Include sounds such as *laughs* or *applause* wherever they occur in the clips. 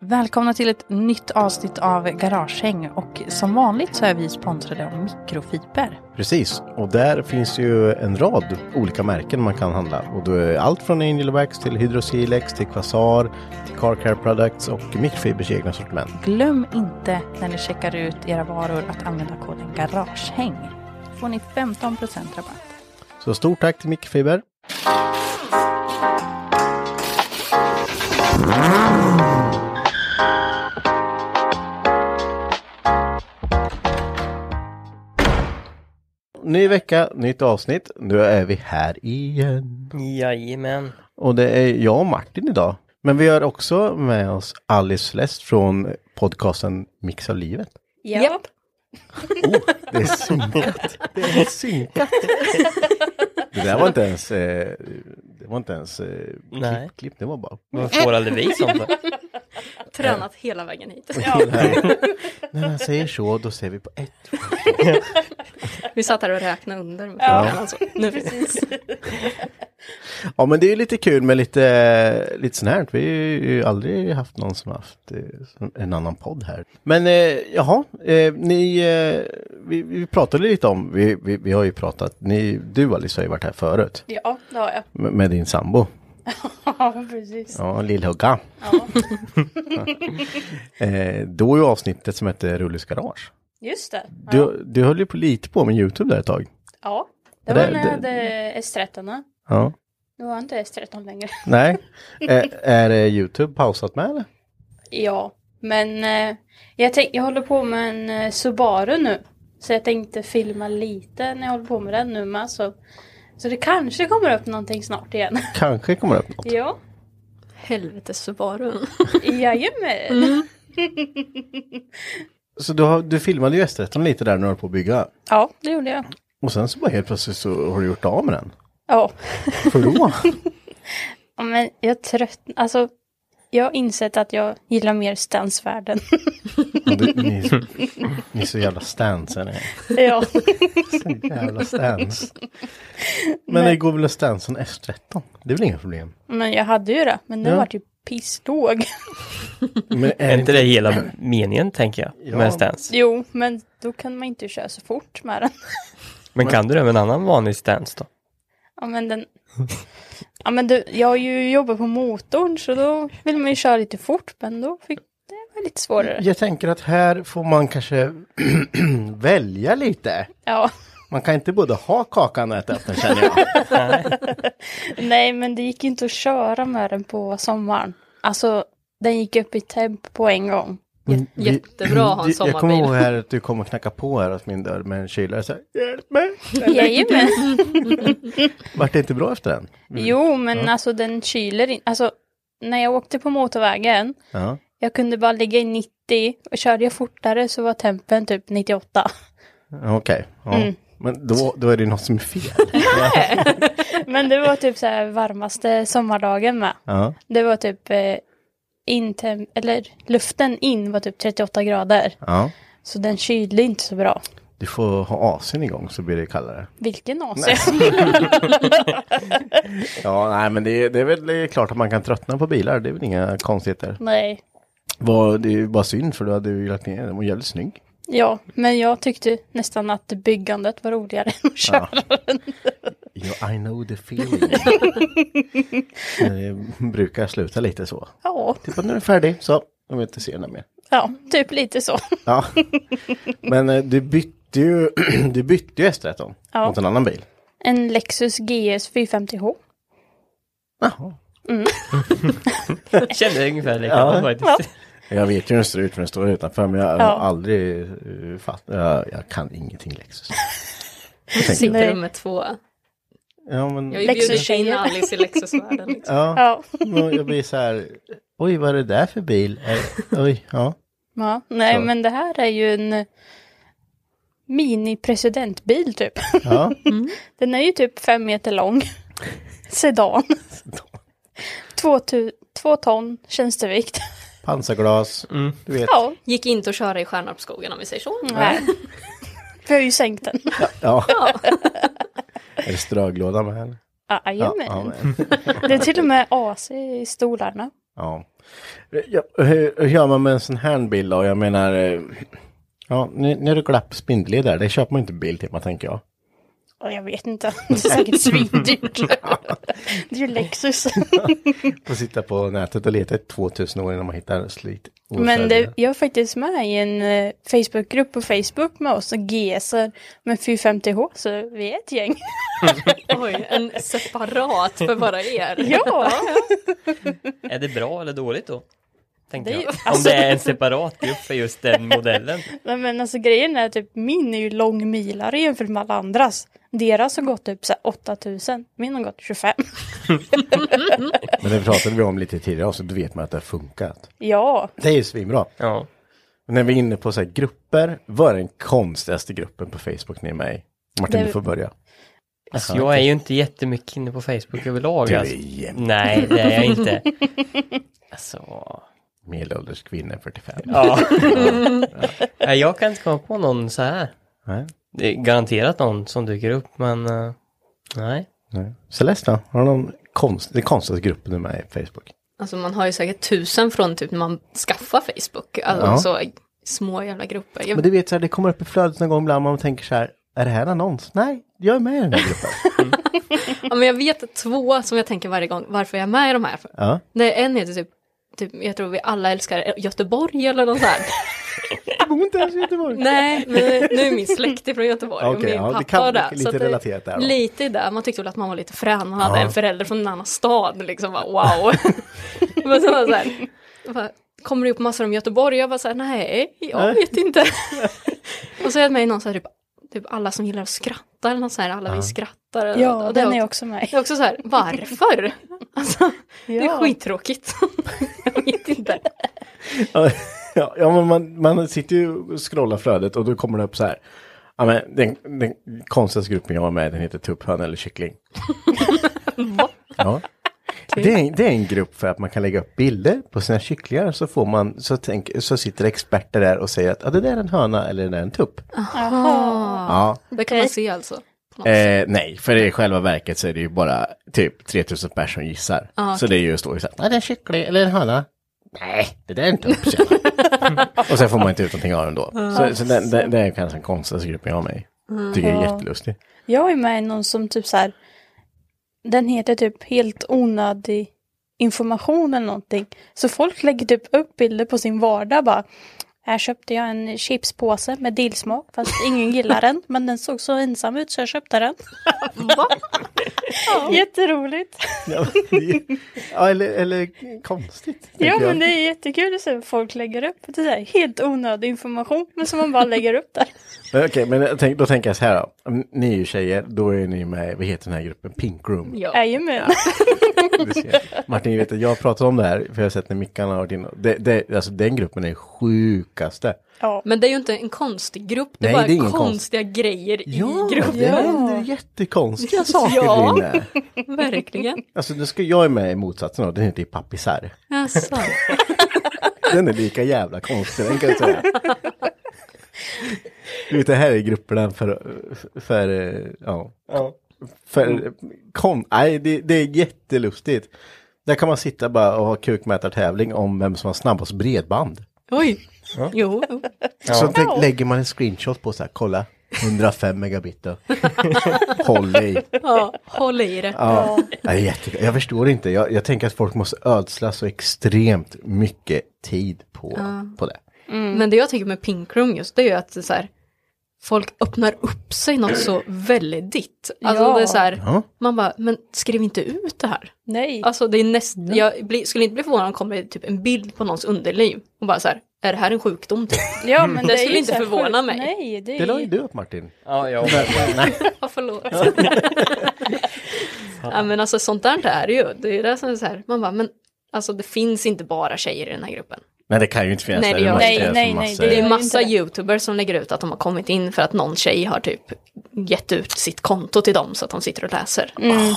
Välkomna till ett nytt avsnitt av Garagehäng och som vanligt så är vi sponsrade av mikrofiber. Precis, och där finns ju en rad olika märken man kan handla. Och då är allt från Angel Wax till Hydrosilex till Quasar till Car Care Products och Microfibers egna sortiment. Glöm inte när ni checkar ut era varor att använda koden Garagehäng. Då får ni 15% rabatt. Så stort tack till Microfiber. Ny vecka, nytt avsnitt. Nu är vi här igen. Jajamän. Och det är jag och Martin idag. Men vi har också med oss Alice Celeste från podcasten Mix av livet. Ja. Det är synkat. Det är synkat. Det där var inte ens, eh, det var inte ens eh, Nej. klipp, klipp, det var bara. Vad spårade vi som *laughs* för? Tränat hela vägen hit. *laughs* När man säger så, då säger vi på ett. Vi satt här och räknade under. Med Ja. ja. alltså. nu precis. Ja, men det är ju lite kul med lite, lite sånt här. Vi har ju aldrig haft någon som har haft eh, som- en annan podd här. Men eh, jaha, eh, ni, eh, vi, vi pratade lite om, vi, vi, vi har ju pratat, ni, du Alice har ju varit här förut Ja, det har jag. med, med din sambo. Ja, precis. Ja, Lillhugga. *laughs* eh, då är ju avsnittet som heter Rullis garage. Just det. Du, du höll ju på lite på med YouTube där ett tag. Ja, Det det där- var när jag det- hade S13. Ja. Nu har jag inte S13 längre. *laughs* Nej. Eh, är eh, YouTube pausat med eller? Ja, men eh, jag, tänk, jag håller på med en eh, Subaru nu. Så jag tänkte filma lite när jag håller på med den nu med. Så, så det kanske kommer upp någonting snart igen. *laughs* Kanske kommer det upp något. ja, Helvete Subaru. jajamän. Mm. Så du, har, du filmade ju S13 lite där när du höll på att bygga. Ja, det gjorde jag. Och sen så bara helt plötsligt så har du gjort av med den. Ja. För då? Ja, Men jag trött, alltså jag har insett att jag gillar mer stansvärden. Du, ni, ni är så jävla stans är ni. ja. Så jävla stans. Men det går väl att stansa en S13? Det är väl inga problem? Men jag hade ju det, men nu Ja. var det ju pisslåg. Men Är inte det hela meningen, tänker jag, Ja. med en *laughs* stance? Jo, men då kan man inte köra så fort med den. Men kan du det med en annan vanlig stance då? Ja, men den... Ja, men du, jag har ju jobbat på motorn så då vill man ju köra lite fort, men då fick det var lite svårare. *clears throat* Jag tänker att här får man kanske välja lite. Ja, Man kan inte både ha kakan och äta upp den känner jag. Nej, men det gick inte att köra med den på sommaren. Alltså, den gick upp i temp på en gång. Mm, *laughs* vi- jättebra att ha en Jag kommer ihåg sommarbil. här att du kom och knackade på här hos min dörr med en kylare. Så här, Hjälp mig! Jajamän. Vart det inte bra efter den? Jo, men Mm. Ja. alltså den kyler inte. Alltså, när jag åkte på motorvägen, Ja. jag kunde bara ligga i 90 och körde jag fortare så var tempen typ 98. Okej. Ja. Mm. Men då, då är det något som *laughs* är fel. *laughs* Men det var typ så här varmaste sommardagen med. Ja. Det var typ eh, intem- eller luften in var typ 38 grader. ja. Så den kylde inte så bra. Du får ha AC'n igång så blir det kallare. Vilken AC. Ja, nej men det, är- det är väl det är klart att man kan tröttna på bilar. Det är väl inga konstigheter. *laughs* Nej. Vad- Det är ju bara synd för du hade ju lagt ner den. Den var jävligt snygg. Ja, men jag tyckte nästan att byggandet var roligare *laughs* än att köra. Yeah, I know *laughs* the feeling. det brukar sluta lite så. Ja, Typ att nu är den färdig, så. Nu vill jag inte se den mer. ja typ lite så. *laughs* Ja. Men eh, du bytte ju, *clears throat* du bytte ju S13 Ja. mot en annan bil. En Lexus GS 450H. Jaha. Kände ungefär likadant *laughs* faktiskt. Jag vet ju hur den ser ut för den står utanför men jag har Ja. aldrig eh, fatt, jag, jag kan ingenting *laughs* Lexus. Sitter Nej. du med två? Ja, men, Jag har ju Lexus bjudit in tjejer. Alice i Lexusvärlden. Liksom. ja, Ja, men jag blir så här, oj vad är det där för bil? *laughs* Eh, Oj, ja. ja. nej Så. men det här är ju en mini-presidentbil typ. ja. *laughs* Den är ju typ fem meter lång. *laughs* Sedan. Två, tu- två ton tjänstevikt. Pansarglas, Mm. du vet. Ja, Gick inte att köra i Stjärnarpsskogen om vi säger så. nej. Vi har ju sänkt den. Ja. är det ströglåda med? Eller? Jajamän. ja, men. Det är till och med AC i stolarna. Ja. ja hur, hur gör man med en sån här bil då? Jag menar, eh, ja, nu, nu är det glapp spindelled där. Det köper man inte bil till, man tänker jag. Och jag vet inte, *laughs* det är säkert svindyrt. *laughs* Det är ju Lexus. Får sitta på nätet och leta i 2000 år innan man hittar slit. och Men säljer. det, jag är faktiskt med i en eh, Facebookgrupp på Facebook med oss och GSer med 450H, så vi är ett gäng. Oj, en separat för bara er. *laughs* Ja, Är det bra eller dåligt då? Tänkte Det är ju- alltså- jag. Om det är en separat grupp för just den modellen. Nej, men alltså grejen är typ min är ju långmilare jämfört med alla andras. Deras har gått typ så här 8000, min har gått 25. Men det pratade vi om lite tidigare så då vet man att det har funkat. *laughs* Ja, Det är ju svinbra. Ja. Men när vi är inne på så här grupper, vad är den konstigaste gruppen på Facebook ni är med i? Martin, Det- du får börja. Alltså, Aha, jag är okej. ju inte jättemycket inne på Facebook överlag. Du är alltså. jämt- Nej, det är jag *laughs* inte. Alltså, Medelålders kvinna 45. ja. Nej, Jag kan inte komma på någon så här. Nej. Det är garanterat någon som dyker upp, men eh, nej. Nej. Celeste då? Har du någon konst, den konstigaste gruppen du är med i Facebook? Alltså man har ju säkert tusen från typ när man skaffar Facebook. Alltså Ja. så små jävla grupper. Jag, Men du vet så här, det kommer upp i flödet någon gång ibland man tänker så här, är det här en annons? Nej, jag är med i den här gruppen. ja, men jag vet två som jag tänker varje gång varför jag är med i de här. ja. Nej, en heter typ, typ, jag tror vi alla älskar Göteborg eller något sånt. Jag bor inte ens i Göteborg. *laughs* Nej, men nu är min släkt ifrån Göteborg och Okej, min ja, det pappa kan- och det. lite så att det- relaterat där då. Lite där, man tyckte väl att man var lite frän, man hade Ja. en förälder från en annan stad, liksom bara, *laughs* wow. *laughs* men så var det så här, bara, kommer det upp massor om Göteborg? Jag bara så här, nej, jag Nej. vet *laughs* inte. och så är jag med i någon så här, typ, typ alla som gillar att skratta eller något så här, alla vi skrattar. eller något. ja Och det den är också- också med. det är också så här, *laughs* varför? Alltså, det är Ja. skittråkigt. *laughs* jag vet inte. Ja, ja, men man, man sitter ju och scrollar flödet och då kommer det upp så här. Ja, men den, den konstigaste gruppen jag var med i, den heter Tupphön eller kyckling. ja. Det är, det är en grupp för att man kan lägga upp bilder på sina kycklingar så får man, så, tänk, så sitter experter där och säger att ah, det där är en höna eller det där är en tupp. Ah, Ja. *laughs* det kan man se alltså. på något Eh, nej, för i själva verket så är det ju bara typ 3000 personer som gissar. Så det är ju står ju så här, "Ah, det är en kyckling eller en höna. Nej, det där är inte upp *laughs* så jävla." Och sen får man inte ut någonting av den då. Så, så den- den- det är kanske den konstigaste gruppen jag har med i. Tycker det är jättelustigt. Jag är med i någon som typ så här, den heter typ helt onödig information eller någonting. Så folk lägger typ upp bilder på sin vardag bara. Här köpte jag en chipspåse med dillsmak, fast ingen gillar den. Men den såg så ensam ut så jag *laughs* köpte den. *laughs* ja. Jätteroligt. *laughs* Ja, det- ja, eller, eller konstigt. Ja tänker jag. men det är jättekul att se vad folk lägger upp. Det är så här helt onödig information, men som man bara lägger upp där. Men Okej, men jag tänk, då tänker jag så här då. Mm, Ni är ju tjejer, då är ni med, vad heter den här gruppen, Pink *laughs* Room. Jajamän. *laughs* Du ser. Martin, jag vet att jag pratar om det här, för jag har sett när Mickan har varit inne. Det, det, alltså den gruppen är sjukaste. Men det är ju inte en konstig grupp, det är Nej, bara det är ingen konstiga grejer Ja, i gruppen. det händer jättekonstiga *laughs* saker Ja. blir det. Verkligen. Alltså nu ska jag är med i motsatsen då, den heter ju Pappisar. Jaså. Den är lika jävla konstig, den kan *laughs* jag säga. Du vet, det här är grupperna för, för, eh, ja. För, kom, nej, det, det är jättelustigt. Där kan man sitta bara och ha kukmätartävling om vem som har snabbast bredband. Oj. Jo. Så tänk, lägger man en screenshot på så här, kolla, 105 *laughs* megabit då. Håll i. Ja, håll i det. Ja, det är jättekul. Jag förstår inte. Jag, jag tänker att folk måste ödsla så extremt mycket tid på, Ja. på det. Men det jag tänker med Pink Room just det är ju att det är så här, folk öppnar upp sig något så väldigt. Alltså Ja. det är så här, Ja. man bara, men skriv inte ut det här. Nej. Alltså det är näst, jag blir- skulle inte bli förvånad om det kommer typ en bild på någons underliv och bara så här, är det här en sjukdom typ? Ja, men det, är skulle ju inte så här förvåna sjukt. mig. Nej, det är Det la ju du upp Martin. Ja, jag Ja, förlåt. ja, men alltså sånt där det är det ju. Det är det som är så här, man bara, men alltså det finns inte bara tjejer i den här gruppen. Nej, det kan ju inte finnas. Nej, där. det gör måste det. göras Nej, en nej, massa- det Det är ju massa inte det. youtubers som lägger ut att de har kommit in för att någon tjej har typ gett ut sitt konto till dem så att de sitter och läser. Mm.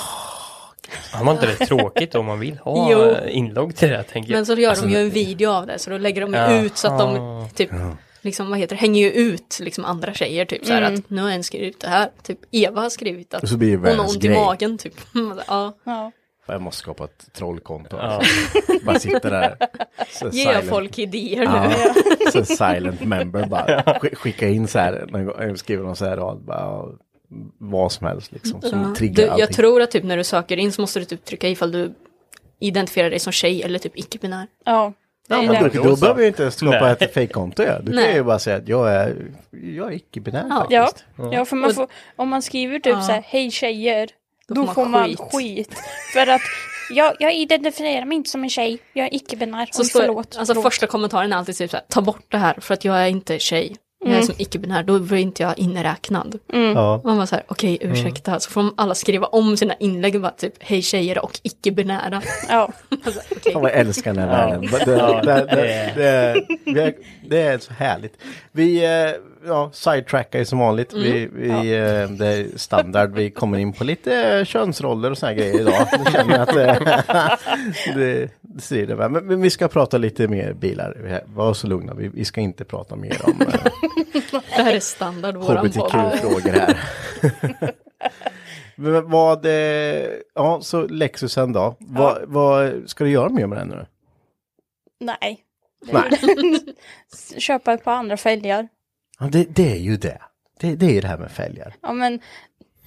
Har man inte det tråkigt om man vill ha Jo. eh, inlogg till det här, tänker jag. Men så gör Alltså, de ju en video av det så då lägger de ju Ja. ut så att de Ah. Ja. typ, liksom, vad heter det, hänger ju ut liksom andra tjejer typ så här Mm. att nu har en skrivit det här, typ Eva har skrivit att Och så blir det hon har världens ont i grej. magen typ. *laughs* ja. Ja. Jag måste skapa ett trollkonto. Alltså. *laughs* Bara sitta där. Så Ge silent- folk idéer Ja, nu. så silent member bara sk- skicka in så här, någon gång, skriver någon så här rad, bara, ja, vad som helst liksom, som Ja. triggar Du, jag allting. tror att typ när du söker in så måste du typ trycka ifall du identifierar dig som tjej eller typ icke-binär. Ja. Det Ja, är men det. då, då behöver jag inte ens skapa Nej. ett fejkkonto. Ja. Du kan Nej. ju bara säga att jag är, jag är icke-binär Ja. Ja, faktiskt. ja för man får, om man skriver typ Ja. så här, hej tjejer, då, får man får man skit. skit. För att jag, jag identifierar mig inte som en tjej, jag är icke-binär. Så Oj, står, förlåt. alltså förlåt. första kommentaren är alltid typ så här, ta bort det här för att jag är inte tjej. Jag Mm. är som icke-binär, då blir inte jag inräknad. Ja. Mm. Man bara så här, okej ursäkta, så får de alla skriva om sina inlägg och bara typ, hej tjejer och *laughs* icke-binära. Ja. Alltså, okej. Fan vad jag älskar den här världen. Det, Ja, det, det, det det, det, vi är- det är så härligt. Vi eh, ja, sidetrackar ju som vanligt. Vi, vi, eh, Det är standard. Vi kommer in på lite könsroller och såna här grejer idag. Jag känner att eh, *laughs* det, det ser det med. Men, men vi ska prata lite mer bilar. Var så lugna, vi, vi ska inte prata mer om eh, Det här är standard våran podd. HBTQ-frågor här. Men vad, eh, ja så Lexusen då. Vad, vad ska du göra mer med den nu? Nej. Nej. *laughs* Köpa ett par andra fälgar. Ja, det, det är ju det. det. Det är ju det här med fälgar. Ja men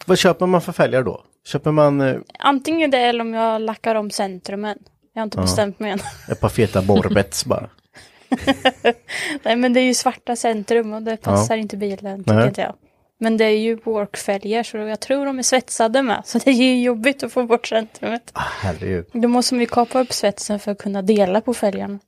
Vad köper man för fälgar då? Köper man eh, antingen det eller om jag lackar om centrumen. Jag har inte bestämt mig än. *laughs* ett par feta borbets bara? Nej men det är ju svarta centrum och det passar inte bilen tycker Nej. inte jag. Men det är ju workfälgar så jag tror de är svetsade med. Så det är ju jobbigt att få bort centrumet. Ah, herregud. Då måste man ju kapa upp svetsen för att kunna dela på fälgarna.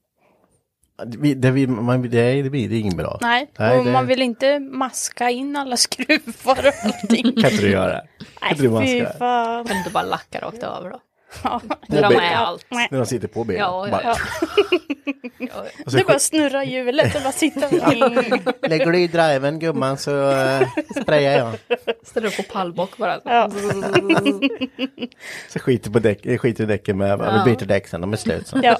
Vi- Det, vi, man, det, det blir inget bra. Nej, och det man vill inte maska in alla *laughs* skruvar och *laughs* allting. kan inte du göra. Kan inte fy du maska? *laughs* fan. Kan du bara lacka rakt över då? Ja. Dra blir- med allt. När de sitter på bilen. Ja, ja, bara, ja. och så Det bara sk- snurrar hjulet, det bara sitter. Mm. Lägger du i driven gumman så eh, sprayar jag. Ställer upp på pallbock bara. *laughs* Ja. Så skiter, på däck, eh, skiter i däcken med. Vi byter däck sen, de är slut. Så. Ja.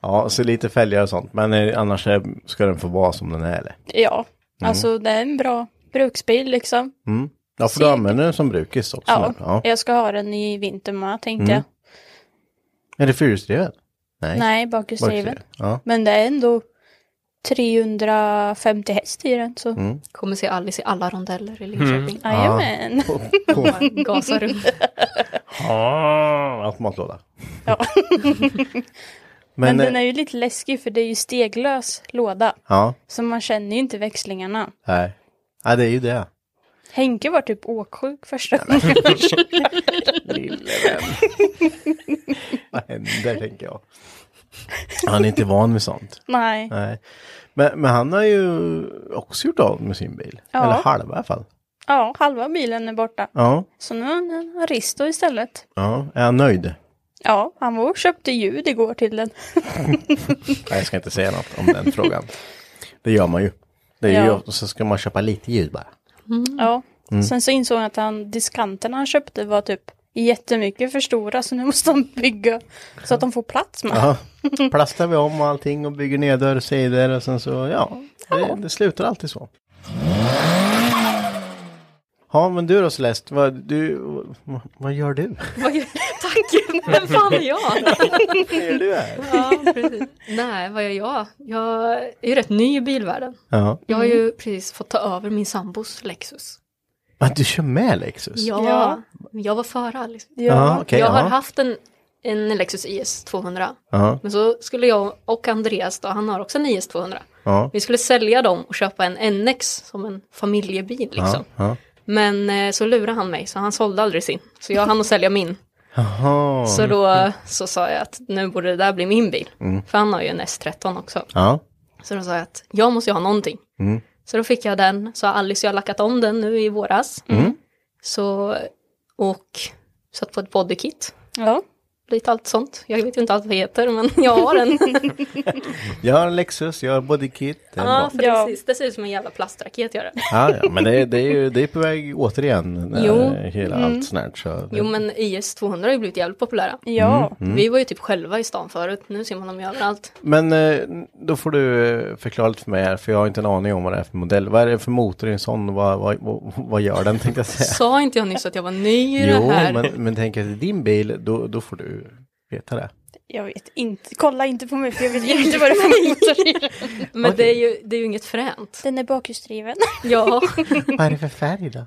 Ja, så lite fälgar och sånt. Men eh, annars eh, ska den få vara som den är eller? ja, alltså det är en bra bruksbil liksom. Mm. Ja, för du Säkert. använder den som brukis också. Ja, nu. Ja. jag ska ha den i vinter med tänkte Mm. jag. Är det fyrhjulsdriven? Nej. Nej, Bakhjulsdriven. bakhjulsdriven. Ja. Men det är ändå 350 häst i den så. Mm. Ah. Kommer se Alice i alla rondeller i Linköping. Jajamän. På, på Gasar runt. Ah, *laughs* automatlåda. Ja. *laughs* Men, Men, den eh, är ju lite läskig för det är ju steglös låda. Ja, Så man känner ju inte växlingarna. nej. Ja, det är ju det. Henke var typ åksjuk första *laughs* gången. Lille vän. *laughs* Vad händer, tänker jag. Han är inte van vid sånt. Nej. nej. Men, men han har ju också gjort av med sin bil. Ja. Eller halva i alla fall. Ja, halva bilen är borta. Ja. Så nu har han en Aristo istället. ja. Är han nöjd? Ja, han var och köpte ljud igår till den. Nej, jag ska inte säga något om den frågan. Det gör man ju. Det är ju Ja. och så ska man köpa lite ljud bara. Ja. Mm. Sen så insåg han att han, diskanterna han köpte var typ jättemycket för stora så nu måste han bygga så att de får plats med. Ja. *laughs* Plastar vi om och allting och bygger ner dörr, sidor och sen så, ja. Det, det slutar alltid så. Ja, men du då Celeste, vad, du, vad, vad gör du? Vad gör- Tack! Vem fan är jag? är du här? *laughs* Ja, precis. Nej, vad gör jag? Jag är ju rätt ny i bilvärlden. Ja. Jag har ju precis fått ta över min sambos Lexus. Men du kör med Lexus? Ja, Ja. men jag var före Alice. Ja. Ja, okej, jag har ja. haft en, en Lexus IS 200. Ja. Men så skulle jag och Andreas då, han har också en IS 200. Ja. Vi skulle sälja dem och köpa en NX som en familjebil liksom. Ja. Men eh, så lurade han mig, så han sålde aldrig sin. Så jag hann att sälja min. Jaha. Så då så sa jag att nu borde det där bli min bil. Mm. För han har ju en S13 också. Ja. Så då sa jag att jag måste ju ha någonting. Mm. Så då fick jag den, så har Alice och jag lackat om den nu i våras. Mm. Mm. Så, och satt på ett bodykit. Ja. Lite allt sånt. Jag vet ju inte allt vad det heter, men *laughs* jag har *laughs* en. Jag har en Lexus, jag har bodykit. det är ja, bra. precis. Det ser ut som en jävla plastraket gör det. Ja, ja, men det, är- det är ju det är på väg återigen. eh, Jo. Hela Mm. allt sånt här. Så Jo, men IS-200 har ju blivit jävligt populära. Ja. Mm, mm. Vi var ju typ själva i stan förut. Nu ser man dem ju *laughs* överallt. Men eh, då får du eh, förklara lite för mig här, för jag har inte en aning om vad det är för modell. Vad är det för motor i en sån? Vad, vad, vad, vad gör den tänkte *laughs* jag säga? Sa inte jag nyss att jag var ny i Jo, det här? men, men tänk att det är din bil, då, då får du veta det. Jag vet inte, kolla inte på mig för jag vet inte vad det är *laughs* för motor i den. *laughs* Men det är, ju, det är ju inget fränt. Den är bakhjulsdriven. *laughs* Ja. Vad är det för färg *laughs* då?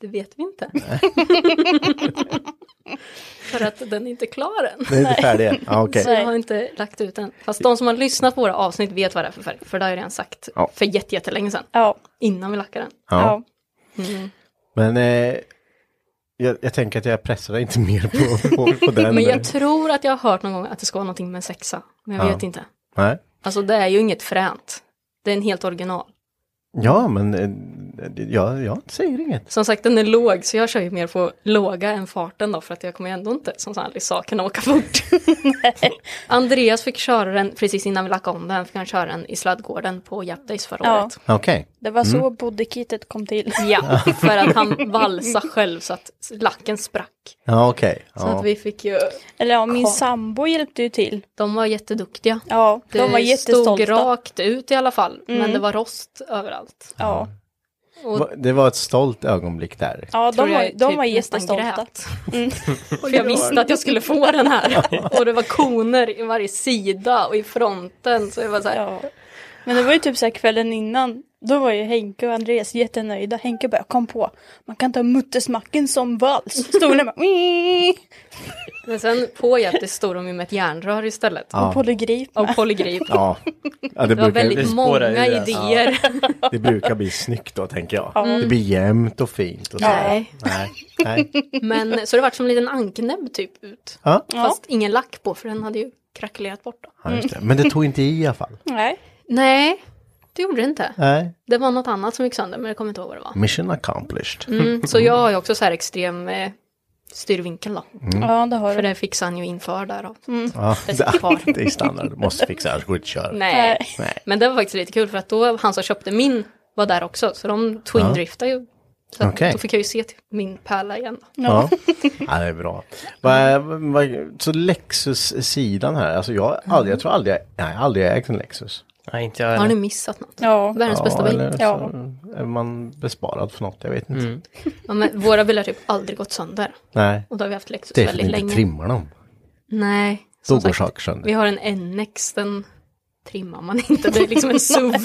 Det vet vi inte. *laughs* För att den är inte klar än. Den är inte färdig än. Ja, okej. Så jag har inte lagt ut den. Fast de som har lyssnat på våra avsnitt vet vad det är för färg. För det har jag redan sagt Ja. för jätte- jättelänge sedan. Innan vi lackade den. Ja. Mm. Men eh, jag, jag tänker att jag pressar dig inte mer på, på, på *laughs* den. Men jag tror att jag har hört någon gång att det ska vara någonting med en sexa. Men jag Ja. vet inte. Nej. Alltså det är ju inget fränt. Det är en helt original. Ja, men eh, jag, jag säger inget. Som sagt den är låg så jag kör ju mer på låga än farten då för att jag kommer ju ändå inte som Sally sa kunna åka *laughs* fort. Andreas fick köra den precis innan vi lackade om den, fick han köra den i sladdgården på Jap Days förra Ja. året. Ah, Okej. Det var så Mm. bodykitet kom till. Ja, *laughs* för att han valsade själv så att lacken sprack. Ja, Ah, okej. Så Ja. att vi fick ju... Eller ja, min sambo hjälpte ju till. De var jätteduktiga. Ja, de var stod jättestolta. rakt ut i alla fall, men Mm. det var rost överallt. Ja. Och Va- Det var ett stolt ögonblick där. Ja, de Tror jag var, de typ var nästan jättestolta. *laughs* Mm. För jag visste att jag skulle få den här. *laughs* Och det var koner i varje sida och i fronten. Så jag var så här, Men det var ju typ så här kvällen innan. Då var ju Henke och Andreas jättenöjda. Henke bara, "Jag kom på, man kan ta muttersmacken som vals. Stod där bara, "Mm." Men sen på hjärtat stod de ju med ett järnrör istället. Ja. Och polygrip. Och polygrip. Ja. Ja, det, det var brukar- väldigt det många spårar ju det. idéer. Det brukar bli snyggt då, tänker jag. Ja. Det blir jämnt och fint. Och så. Nej. Nej. Nej. *laughs* Men så det vart som en liten ankenäbb typ ut. Ja. Fast ingen lack på för den hade ju krackelerat bort. Då. Ja, just det. Men det tog inte i i alla fall. Nej. Nej, det gjorde det inte. Nej. Det var något annat som gick sönder men jag kommer inte ihåg vad det var. Mission accomplished. Mm, så jag har ju också så här extrem eh, styrvinkel då. Mm. Ja, det har För det fixade han ju inför där då. Ja, Det sitter kvar. *laughs* det är standard. Måste fixa, annars går det inte att köra. Nej. Nej. Men det var faktiskt lite kul för att då han som köpte min var där också. Så de twindriftade ju. Så att Okej. då fick jag ju se till min pärla igen. Ja. ja, det är bra. Va, va, så Lexus-sidan här, alltså jag, har aldrig, jag tror aldrig jag, nej, aldrig jag ägt en Lexus. Nej, inte jag Har ni missat något? Ja. Världens bästa bil. Eller så är man besparad för något, jag vet inte. Ja, men våra bilar har typ aldrig gått sönder. Nej. Och då har vi haft Lexus det är för att väldigt vi länge. inte trimmar dem. Nej. som Då går sagt, saker sönder. Vi har en NX, den trimmar man inte, det är liksom *laughs* en SUV.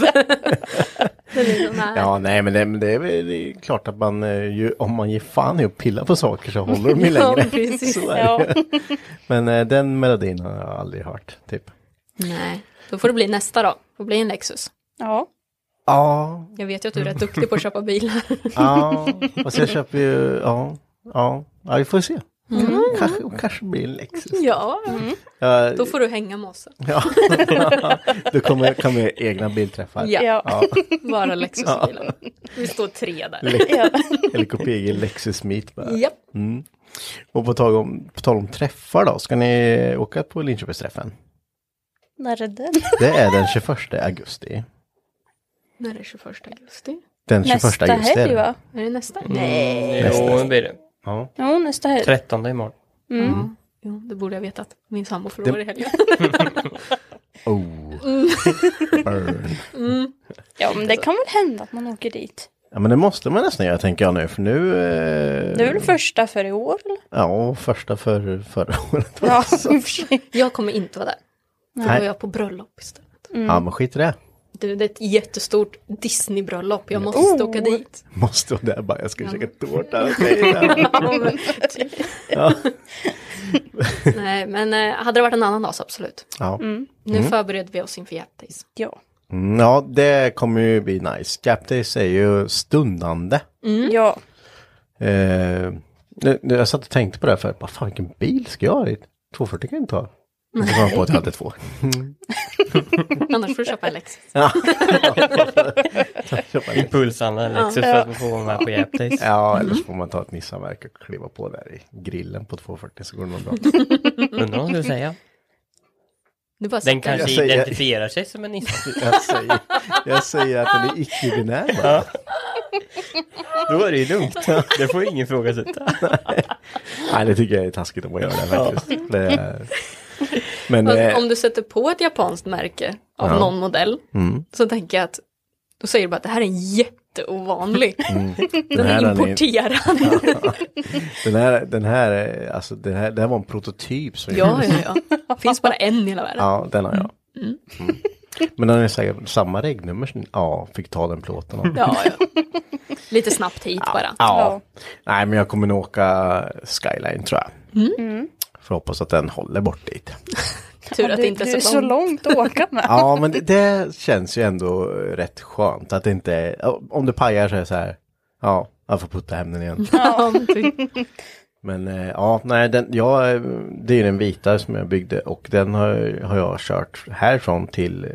Det är liksom, nej. Ja, nej, men det, men det är väl det är klart att man eh, ju, om man ger fan i att pilla på saker så håller de ju *laughs* Ja, längre. precis. *laughs* Så är det ju. Ja. *laughs* Men eh, den melodin har jag aldrig hört, typ. Nej, då får det bli nästa då. Det får bli en Lexus. Ja. Ja, Jag vet ju att du är rätt Mm. duktig på att köpa bilar. ja, *laughs* fast jag köper ju, ja, ja, ja, vi får se. Mm. Kanske, kanske blir en Lexus. Ja, Mm. Ja, då får du hänga med oss. Ja, *laughs* då kommer, kommer egna bilträffar. *laughs* Ja, bara Lexusbilar. Vi står tre där. Le- Eller KPG Lexus Meet bara. Japp. Mm. Och på tal, om, på tal om träffar då, ska ni åka på Linköpingsträffen? När är den? Det är den 21 augusti. När är det 21 augusti? Den 21 Nästa augusti. helg va? Är det nästa? Mm. Nej. Nästa. Jo, det blir det. Ja. Jo, nästa helg. 13 imorgon. Mm. Ja, jo, det borde jag vetat. Min sambo Det- förlorar i helgen. Oh. Mm. Burn. Ja, men det kan väl hända att man åker dit. Ja men det måste man nästan göra tänker jag nu för nu... Eh... Det är väl första för i år? Eller? Ja, första för förra *laughs* *laughs* året. Ja, *laughs* jag kommer inte vara där. Då Nej. var jag på bröllop istället. mm. Ja men skit i det. Du, det är ett jättestort Disney-bröllop. Jag måste Oh. åka *laughs* dit. Måste vara där bara, jag ska käka tårta. *laughs* Mm. Ja, men typ. Ja. Nej, men eh, hade det varit en annan dag så absolut. Ja. Mm. Nu Mm. förbereder vi oss inför Japtis. Ja. Mm, ja, det kommer ju bli nice. Gapdays är ju stundande. Ja. Eh, nu- nu- jag satt och tänkte på det här för vad fan vilken bil ska jag ha dit? 240 kan jag inte ha. Och så kom jag på att jag hade två. Annars får du köpa en Lexus. *laughs* Ja. *laughs* Impulsarna eller Lexus för att få vara med *laughs* på Japtis. Ja, Mm. eller så får man ta ett Nissanverk och kliva på där i grillen på 240 så går det nog bra. *laughs* Undrar vad du säger. Du bara Den sätter kanske Jag säger- identifierar sig som en Nissan. Jag säger, jag säger att den är icke-binär. bara. *laughs* Då är det ju lugnt. Det får ingen ifrågasätta. Nej, det tycker jag är taskigt om att göra det faktiskt. Det är... Men... Fast eh, Alltså, Om du sätter på ett japanskt märke av Ja. någon modell Mm. så tänker jag att då säger du bara att det här är en jätteovanlig. *laughs* Mm. Den, Den här är den är- importerad. Den här, den här, är- alltså den här, det här var en prototyp som *laughs* Ja, gjordes. ja, ja. *laughs* Finns bara en i hela världen. Ja, den har jag. Mm. Mm. Men den är säkert samma regnummer som, ja, fick ta den plåten. om. Ja, ja. Lite snabbt hit bara. ja. Nej, men jag kommer nog åka Skyline tror jag. Mm. Får hoppas att den håller bort dit. Tur att det inte är så, långt. att åka med. *laughs* Ja, men det, det känns ju ändå eh, rätt skönt att det inte är, om det pajar så är det så här, ja, jag får putta hem den igen. *laughs* Ja, men typ. Men eh, ja, nej, den, ja, eh, det är den vita som jag byggde och den har, har jag kört härifrån till eh,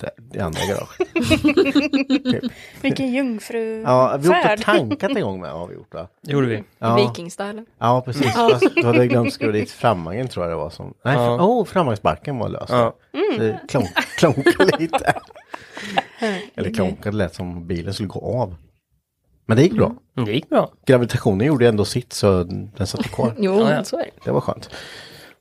där, det andra *laughs* garaget. *laughs* Vilken jungfru Ja, vi åkte tankat en gång med, har vi gjort va? *laughs* Det gjorde vi. Ja. Vikingstyle. Ja, precis. Ja. Fast då hade jag glömt skriva dit framvagnen tror jag det var som. Nej, Ja. fr- oh, framvagnsbarken var lös. Ja. Det klonk, klonkade lite. Eller klonkade lät som bilen skulle gå av. Men det gick bra. Det gick bra. Gravitationen gjorde ändå sitt så den satt kvar. Jo, Ja, ja. så är det. Det var skönt.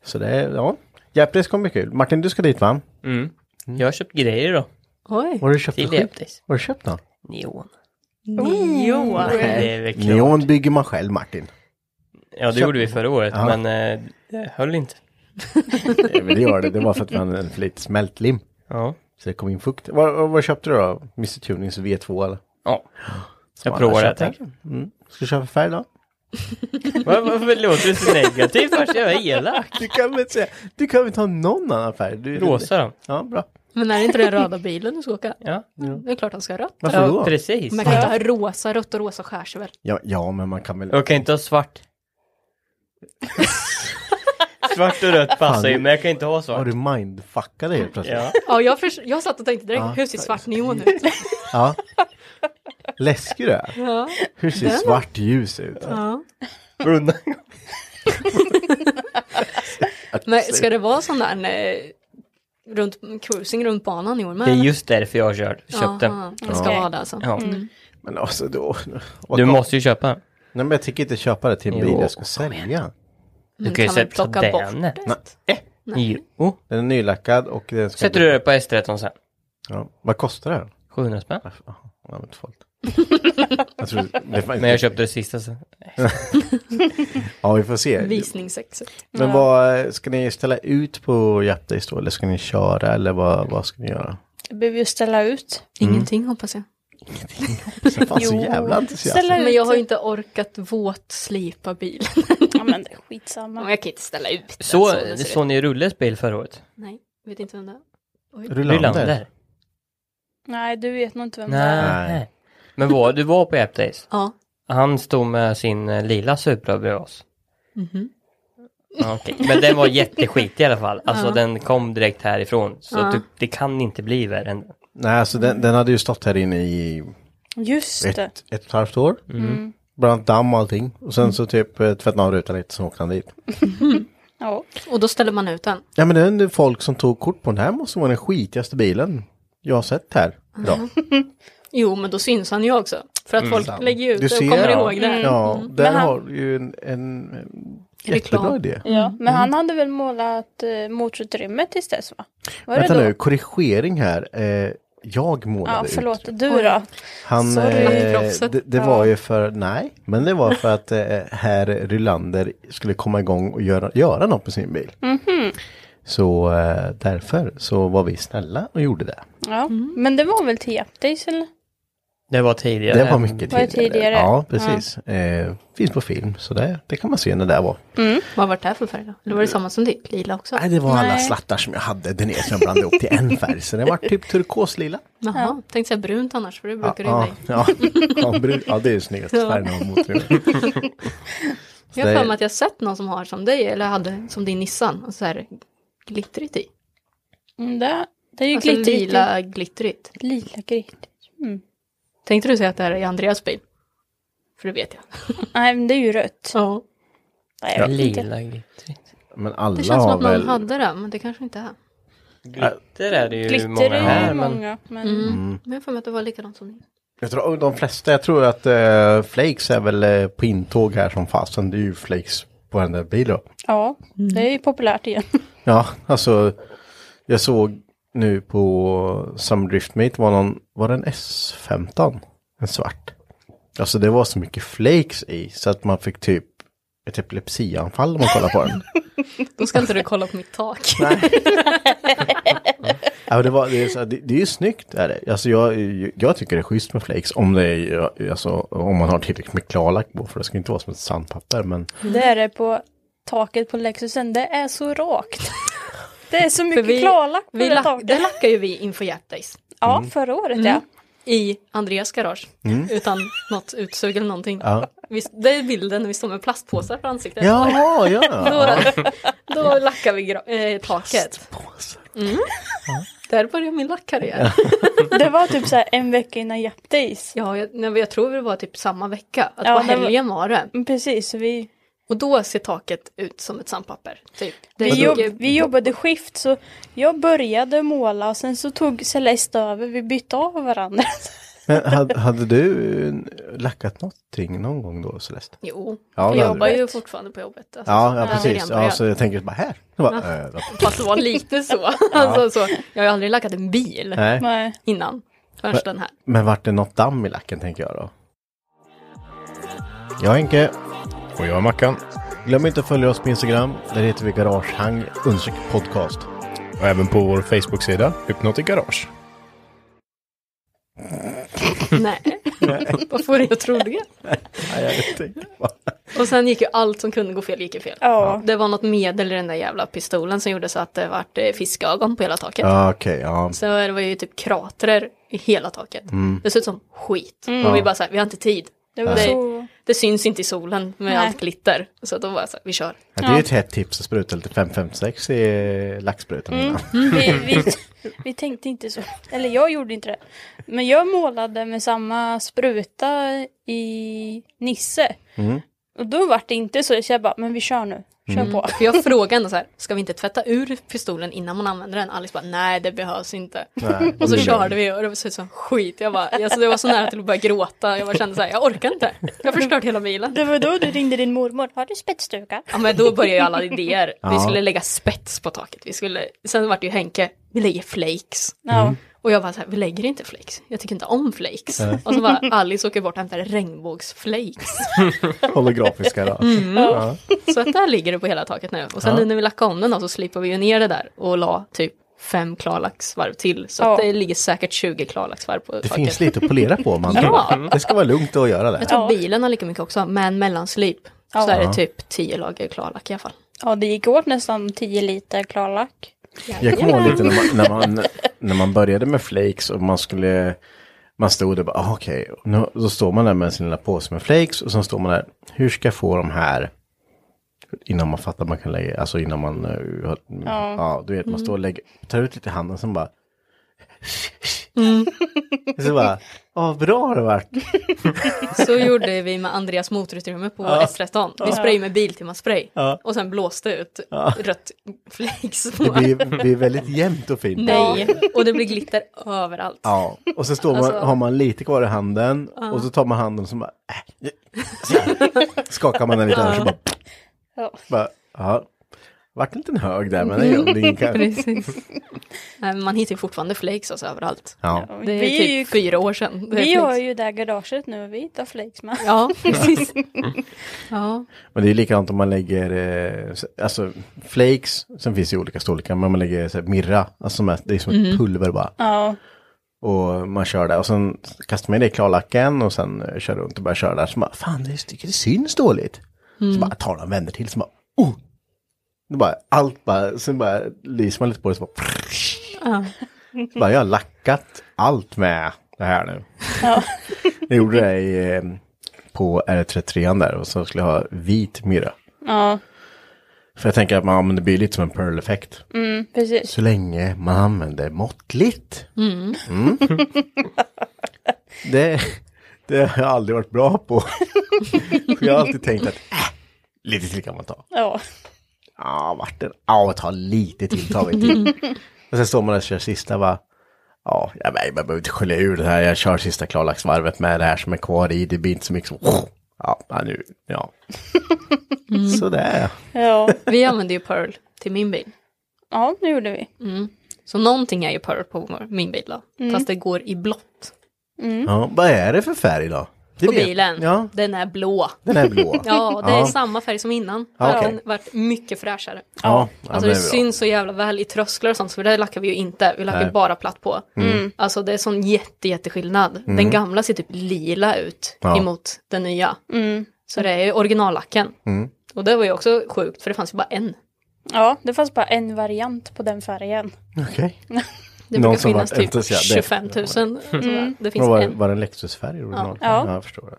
Så det, ja. Japris kommer bli kul. Martin, du ska dit va? Mm. Jag har köpt grejer då. Oj. Vad har du köpt Till för skit? Japtis. Vad har du köpt då? Neon. Jo. Det är väl klart. Neon bygger man själv Martin. Ja, det gjorde vi förra året, Ja. men eh, det höll inte. Nej, men det gör det. Det var för att vi hade en för lite smältlim. Ja. Så det kom in fukt. Vad, vad, vad köpte du då? Mr Tunings V2 eller? ja. Ja, Jag provar jag det. köpte. tack. Mm. Ska du köpa färg då? Var- Varför låter du så negativt? Först jag är elak. Du kan väl inte säga, du kan väl ta någon annan färg? Du, Rosa då? Ja, bra. Men är det inte den röda bilen du ska åka? Ja. Det är klart han ska ha rött. Varför då? ja precis. Man kan inte ha rosa, rött och rosa skär sig väl? Ja, ja, men man kan väl... Jag kan inte ha svart. *laughs* svart och rött passar Fan, ju, du- men jag kan inte ha Har svart. du mindfuckat dig helt plötsligt? Ja. Ja, jag, förs- jag satt och tänkte direkt, Ja. hur ser svart neon ut? ja. Läskig du är. Ja. Hur ser Den- svart ljus ut? Ja. Brunna. Men ska det vara sån där eh, runt, cruising runt banan i år med? Det är just därför jag har kört, Aha, köpt den. Det ska Ja. vara det alltså. Ja. Men alltså då... Du måste ju köpa den. Nej, men jag tänker inte köpa det till en bil Jo, jag ska sälja. Men Du kan ju väl sätta plocka bort den. Nej. Jo. Den är nylackad och den ska... Sätter du det på S13 sen. Ja. Vad kostar den? 700 spänn. Jaha, ja, men två. Jag tror det fanns- När jag köpte det sista så... ja, vi får se. Eh, Visningssexet. Men vad, ska ni ställa ut på Jap Days då? Eller ska ni köra? Eller vad, vad ska ni göra? Det behöver ju ställa ut. Ingenting hoppas jag. Det fanns så jävla entusiasm. Ställa ut. Men jag har ju inte orkat våtslipa bilen. Ja men det är *laughs* skitsamma. Men jag kan inte ställa ut den Så, det ser ut. såg ni Rulles bil förra året? Nej, vet inte vem det är. Oj. Rylander. Nej, du vet nog inte vem det är. Nej. Men var, du var på App Days? Ja. Han stod med sin eh, lila Supra bredvid oss. Mhm. Ja, okej. Men den var jätteskitig i alla fall. Alltså Ja. den kom direkt härifrån. Så Ja. du, det kan inte bli värre än det. Nej, alltså den, den hade ju stått här inne i Just ett, det. ett och ett halvt år. Mm. Bland annat damm och allting. Och sen så typ eh, tvättade han av rutan lite, sen åkte han dit. Ja. Och då ställer man ut den. Ja men det är ändå folk som tog kort på den här måste vara den skitigaste bilen jag har sett här *laughs* idag. Jo, men då syns han ju också. För att Mm. folk Sant. lägger ju ut Du det och ser, kommer ja. ihåg det. Ja, Mm. där Men han- har du ju en, en eh, Reklam. jättebra idé. Ja, men Mm. han hade väl målat eh, motorutrymmet tills dess va? Var Vänta det då? nu, korrigering här. Eh, jag Ja, målade ut. förlåt. Du då? Han, Sorry. eh, Proffset. det, det Ja. var ju för, nej, men det var för att eh, herr Rylander skulle komma igång och göra, göra något med sin bil. Mhm. Så eh, därför så var vi snälla och gjorde det. Ja, Mm. men det var väl till Japdays eller? Det var tidigare. Det var mycket Var det tidigare. tidigare? Ja, precis. Eh, finns på film, så det, det kan man se när det var. Vad var det här för färg då? Eller var det samma som ditt? Lila också? Mm. Nej, det var alla Nej. slattar som jag hade där nere som jag blandade ihop till en färg. *laughs* Så det var typ turkoslila. Jaha, tänkte säga brunt annars, för det Ja, brukar ja, du bli. ja, ja, brun- ja, det är ju *laughs* snyggaste Ja. färgen av motorn. Jag har det- för mig att jag sett någon som har som dig, eller hade som din Nissan, och så här glittrigt i. Mm, det, det är ju Alltså glittrigt. lila glittrigt. Lila glittrigt. Mm. Tänkte du säga att det här är Andreas bil? För det vet jag. Nej, men det är ju rött. Ja. Nej, jag vet inte. Lila glittrigt. Men Det alla känns som har att någon väl... hade det, men det kanske inte är. Glitter är det ju Glitter många är ju här. Men många, men... Mm. Men jag har för mig att det var likadant som din. Jag tror, de flesta, jag tror att eh, Flakes är väl eh, på intåg här som fasen. Det är ju Flakes på den där bilen. Ja, det Mm. är ju populärt igen. Ja, alltså. Jag såg nu på Some Drift Meet var någon, var det en S15? En svart. Alltså det var så mycket flakes i så att man fick typ ett epilepsianfall om man kollar på den. Då ska inte du kolla på mitt *laughs* tak. ja, men det, var, det, är så, det, det är ju snyggt. Är det. Alltså jag, jag tycker det är schysst med flakes om, det är, alltså, om man har tillräckligt med klarlack på. För det ska inte vara som ett sandpapper. Men Mm. Det är det på taket på Lexusen. Det är *laughs* så rakt. Det är så mycket vi- klarlack på Vi det lack, det taket. lackar ju vi inför hjärtdays. Ja, förra året ja. I Andreas garage. Utan något utsug eller någonting. Mm. ja. Vi, det är bilden när vi står med plastpåsar för ansiktet. Jaha, ja. *laughs* Då lackar vi gra- eh, taket. Mm. Där börjar min lackkarriär. Mm. *laughs* Det var typ så här en vecka innan Jap Days. Ja, jag, nej, men jag tror det var typ samma vecka. Att Ja, på det var- helgen var det. Men Precis, så vi, Och då ser taket ut som ett sandpapper. Typ. Det vi, är jobb, mycket- vi jobbade skift så jag började måla och sen så tog Celeste över. Vi bytte av varandra. *laughs* Men hade, hade du eh, lackat någonting någon gång då Celeste? Jo, Ja, jag det hade jobbar du. ju fortfarande på jobbet. Alltså, Ja, ja jag har precis. redan Ja, börjat. så jag tänker bara här. Det var, eh, vad- Fast det var lite *laughs* så. Alltså, så. Jag har ju aldrig lackat en bil nej. Nej. innan. Förrän den här. Men vart det något damm i lacken tänker jag då? Jag är Henke. Och jag är Mackan. Glöm inte att följa oss på Instagram. Där heter vi Garagehang understreck podcast. Och även på vår Facebook-sida Hypnotic Garage. Nej, vad får du att tro det? Nej, *laughs* jag tänker bara. Och sen gick ju allt som kunde gå fel, gick ju fel. Ja. Det var något medel i den där jävla pistolen som gjorde så att det vart eh, fiskögon på hela taket. Ja, okej. ja. Så det var ju typ kratrar i hela taket. Mm. Det såg ut som skit. Och vi bara så här, vi har inte tid. Det var Det- så. Det syns inte i solen med Nej. allt glitter. Så då var så här, vi kör. ja. Det är ju ett hett tips att spruta lite 556 i eh, laxsprutan Mm. innan. Vi, vi, vi tänkte inte så. Eller jag gjorde inte det. Men jag målade med samma spruta i Nisse. Och då var det inte så. Så jag bara, men vi kör nu. Kör på. För jag frågade ändå så här, ska vi inte tvätta ur pistolen innan man använder den? Alice bara, nej det behövs inte. Nej, Och så det är körde vi och det såg ut som skit. Jag bara, alltså det var så nära till att börja gråta. Jag bara kände så här, jag orkar inte. Jag har förstört hela bilen. Det var då du ringde din mormor. Har du spetsstuga? Ja men då började ju alla idéer. Ja. Vi skulle lägga spets på taket. Vi skulle, sen vart det ju Henke, vi lägger flakes. Ja. Och jag bara så här, vi lägger inte flakes. Jag tycker inte om flakes. Nej. Och så bara Alice åker bort och hämtar regnbågsflakes. Holografiska då. Mm. Ja. Så att där ligger det på hela taket nu. Och sen Ja. nu när vi lackade om den då så slipper vi ju ner det där och la typ fem klarlacksvarv till. Så att det ligger säkert 20 klarlacksvarv på Det taket. finns lite att polera på man Ja. Det ska vara lugnt att göra det. Jag tror bilen har lika mycket också, men mellanslip. Så Ja. är Ja. det typ 10 lager klarlack i alla fall. Ja, det gick åt nästan 10 liter klarlack. Jag kommer ihåg lite när man, när, man, när man började med flakes och man skulle... Man stod där bara, ah, okej, nu- då står man där med sin lilla påse med flakes och sen står man där, hur ska jag få de här innan man fattar man kan lägga, alltså innan man, eh, har- Ja. ja, du vet, man står och lägger, tar ut lite i handen sen bara, Mm. *laughs* så bara, ja, bra har det varit. Så gjorde vi med Andreas motorutrymme på Ja. S13. Vi Ja. spray med biltimmarspray. Ja. Och sen blåste ut Ja. rött flakes. *laughs* Det blir, blir väldigt jämnt och fint. Nej, och det blir glitter överallt. Ja, och så står man, Alltså- har man lite kvar i handen Ja. och så tar man handen och så bara, äh, så här. skakar man den lite och så bara, Ja. bara ja, vart en liten hög där men det gör *laughs* det inget. Mm. Precis. Nej, men Man hittar ju fortfarande flakes alltså överallt. Ja. Det är Vi är typ ju- fyra år sedan. det är Vi flakes. har ju det här garaget nu och vi hittar flakes med. Ja, *laughs* precis. Ja. Men det är likadant om man lägger, eh, så- alltså flakes, sen finns det ju olika storlekar, men man lägger så här, mirra, alltså som är, det är som Mhm. Mm. ett pulver bara. Ja. Och man kör det och sen kastar man i det i klarlacken och sen eh, kör runt och börjar köra där. Så bara, fan det, tycker det syns dåligt. Så Mm. bara tar den och vänder till, så bara, oh! Då bara, allt bara, sen bara lyser man lite på det, så bara, Ja. Så *laughs* bara, jag har lackat allt med det här nu. Ja. Jag gjorde *laughs* det i, eh, på R33 där och så skulle jag ha vit myra. ja. För jag tänker att man, ja, men det blir lite som en pearl-effekt. Mm, precis. Så länge man använder måttligt. Mm. Mm. Det, det har jag aldrig varit bra på. För jag har alltid tänkt att äh, lite till kan man ta. Ja. Ja, vart det? Ja, ta lite till, ta vi till. Och sen står man där och kör sista va. Ja, jag jag behöver inte skölja ur det här. Jag kör sista klarlacksvarvet med det här som är kvar i. Det blir inte så mycket som... Ja, ja, nu, ja. Sådär. Ja. Vi använde ju Pearl till min bil. Ja, det gjorde vi. Mm. Så någonting är ju Pearl på vår- min bil då. Mm. Fast det går i blått. Ja, vad är det för färg då? Det på vet- bilen. Ja, Den är blå. Den är blå. ja, det är Ja. samma färg som innan. Ja, Fast okej. Den varit mycket fräschare. Ja, alltså ja, men det det är bra. syns så jävla väl i trösklar och sånt, för det lackar vi ju inte. Vi lackar ju Nej. bara platt på. Mm. Alltså det är sån jätte, jätteskillnad. Mm. Den gamla ser typ lila ut Ja. emot den nya. Så det är ju originallacken. Mm. Och det var ju också sjukt, för det fanns ju bara en. Ja, det fanns bara en variant på den färgen. okej. Det Någon brukar som finnas varit typ entusiast. Mm. 25 000. sådär. Det finns var, en. var det en Lexusfärg i original? Ja. jag förstår det.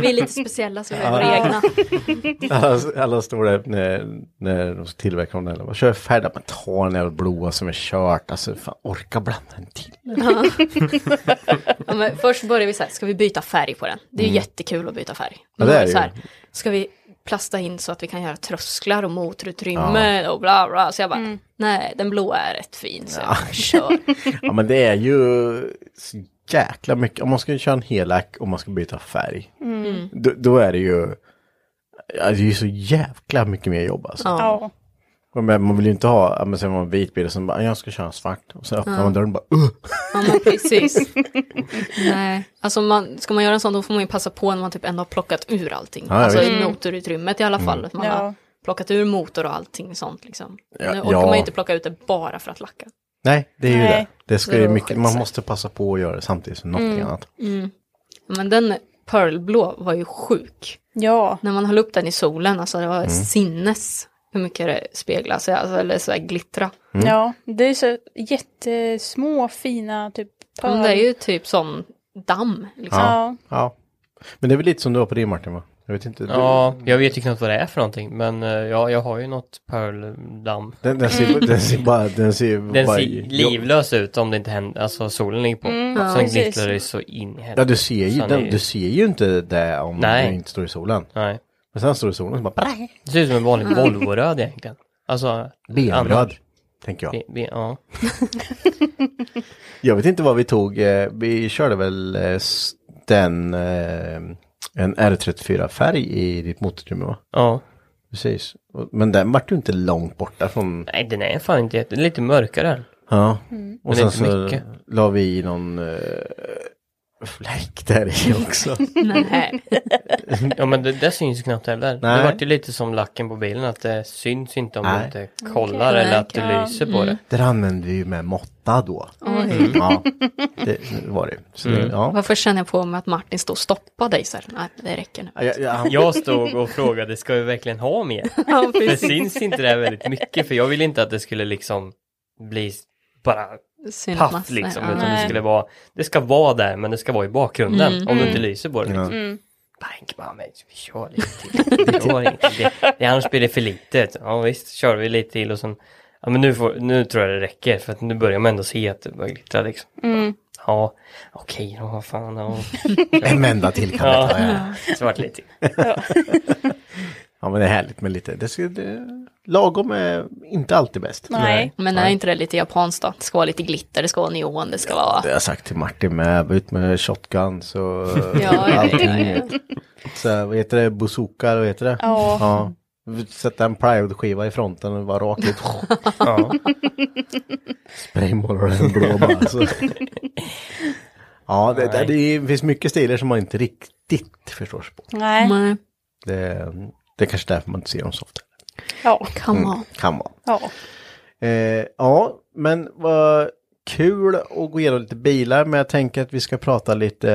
Vi är lite speciella så vi har Ja. våra egna. Alla, alla står där när, när de tillverkar dem. där. Vad Kör färg där, man tar den jävla blåa som är kört. Alltså fan, orka blanda den till. Ja. ja, men först började vi så här, ska vi byta färg på den? Det är ju Mm. jättekul att byta färg. Ja, Men det då är var det så ju. här, ska vi plasta in så att vi kan göra trösklar och motorutrymme och bla bla. Så jag bara, nej, den blåa är rätt fin. Så jag bara, kör. Ja men det är ju så jäkla mycket. Om man ska köra en helack och man ska byta färg. Mm. Då, då är det ju. Ja, det är ju så jäkla mycket mer jobb alltså. Ja. Och Men man vill ju inte ha, ja, men sen har man en vit bil och sen bara, jag ska köra en svart. Och så öppnar Ja. man dörren och bara, uh. Ja, *laughs* men precis. nej, alltså man, ska man göra en sån då får man ju passa på när man typ ändå har plockat ur allting. Ja, alltså visst. i Mm. motorutrymmet i alla fall. Mm. att Man Ja. har plockat ur motor och allting sånt liksom. Ja, nu orkar ja. man ju inte plocka ut det bara för att lacka. Nej, det är ju Nej. det. Det ska Det ju var mycket, man skitsamt. måste passa på att göra det samtidigt som någonting Mm. annat. Mm. Men den pearlblå var ju sjuk. Ja. När man höll upp den i solen, alltså det var Mm. sinnes hur mycket det speglade sig, alltså, eller så här glittra. Mm. Ja, det är så jättesmå fina typ Ja, men Det är ju typ som damm. Liksom. Ja. Ja. Men det är väl lite som du har på din Martin va? Jag vet inte. du- Ja, jag vet ju knappt vad det är för någonting, men eh, ja, jag har ju något pearl-damm. Den, den, ser, Mm. den ser bara... Den ser, Den bara, ser livlös ut om det inte händer, alltså solen ligger på. Mm, så ja, den precis. glittrar ju så in i helvete. Ja, du ser ju, Så är den, du ser ju inte det om Nej. du inte står i solen. Nej. Men sen står du i solen och så bara... Brang. Det ser ut som en vanlig Mm. Volvo-röd egentligen. Alltså... Benröd, annars. tänker jag. Be, be, ja. Jag vet inte vad vi tog. Eh, vi körde väl eh, s- den... Eh, en R34-färg i ditt motorutrymme va? Ja. Precis. Och- Men den vart ju inte långt borta från... Nej, den är fan inte jätte... Den är lite mörkare. Ja, Mm. Men och sen inte så mycket. la vi i någon uh, fläck *laughs* där i också. *laughs* Nej. ja men det, det syns ju knappt heller. Nej. Det vart ju lite som lacken på bilen att det syns inte om Nej. du inte kollar Okej. eller att det Ja, lyser på mm. det. Där använde vi ju med måtta då. Oj. Mm, Ja, det var det. Så det Mm. ja. Varför känner jag på mig att Martin står och stoppar dig så här? Nej, det räcker nu. Jag, Jag stod och frågade, ska vi verkligen ha mer? *laughs* Ja, det *laughs* precis. syns inte det här väldigt mycket, för jag ville inte att det skulle liksom bli bara Synas paff massa, liksom, ja. utan det Nej. skulle vara, det ska vara där, men det ska vara i bakgrunden, Mm. om det inte Mm. lyser på det. Ja. Liksom. Mm. Bank, bara, men vi kör lite till. Vi kör lite till. Det, annars blir det för litet. Ja visst, kör vi lite till och sen, ja men nu, får, nu tror jag det räcker, för att nu börjar man ändå se att det börjar glittra liksom. Mm. Ja, okej då, vad *laughs* fan. Ja. En vända till kan det ta, ja. Så vart det lite till. ja, men det är härligt med lite. Det ska, det, lagom är inte alltid bäst. Men är inte det lite japanskt då? Det ska vara lite glitter, det ska vara neon, det ska vara... Det har jag sagt till Martin med, ut med shotgun så *laughs* *laughs* ja, ja. allting. Så, vad heter det, bazooka, vad heter det? Ja. Sätta en plywoodskiva i fronten och bara rakt ut. Ja. Spraymålar den blå bara. Så. Ja, det, det, det finns mycket stilar som man inte riktigt förstår sig på. Mm. Nej. Mm. Det, det är kanske därför man inte ser dem så ofta. Mm, Ja. Come on. Kan vara. Ja. Eh, ja, men vad kul att gå igenom lite bilar, men jag tänker att vi ska prata lite,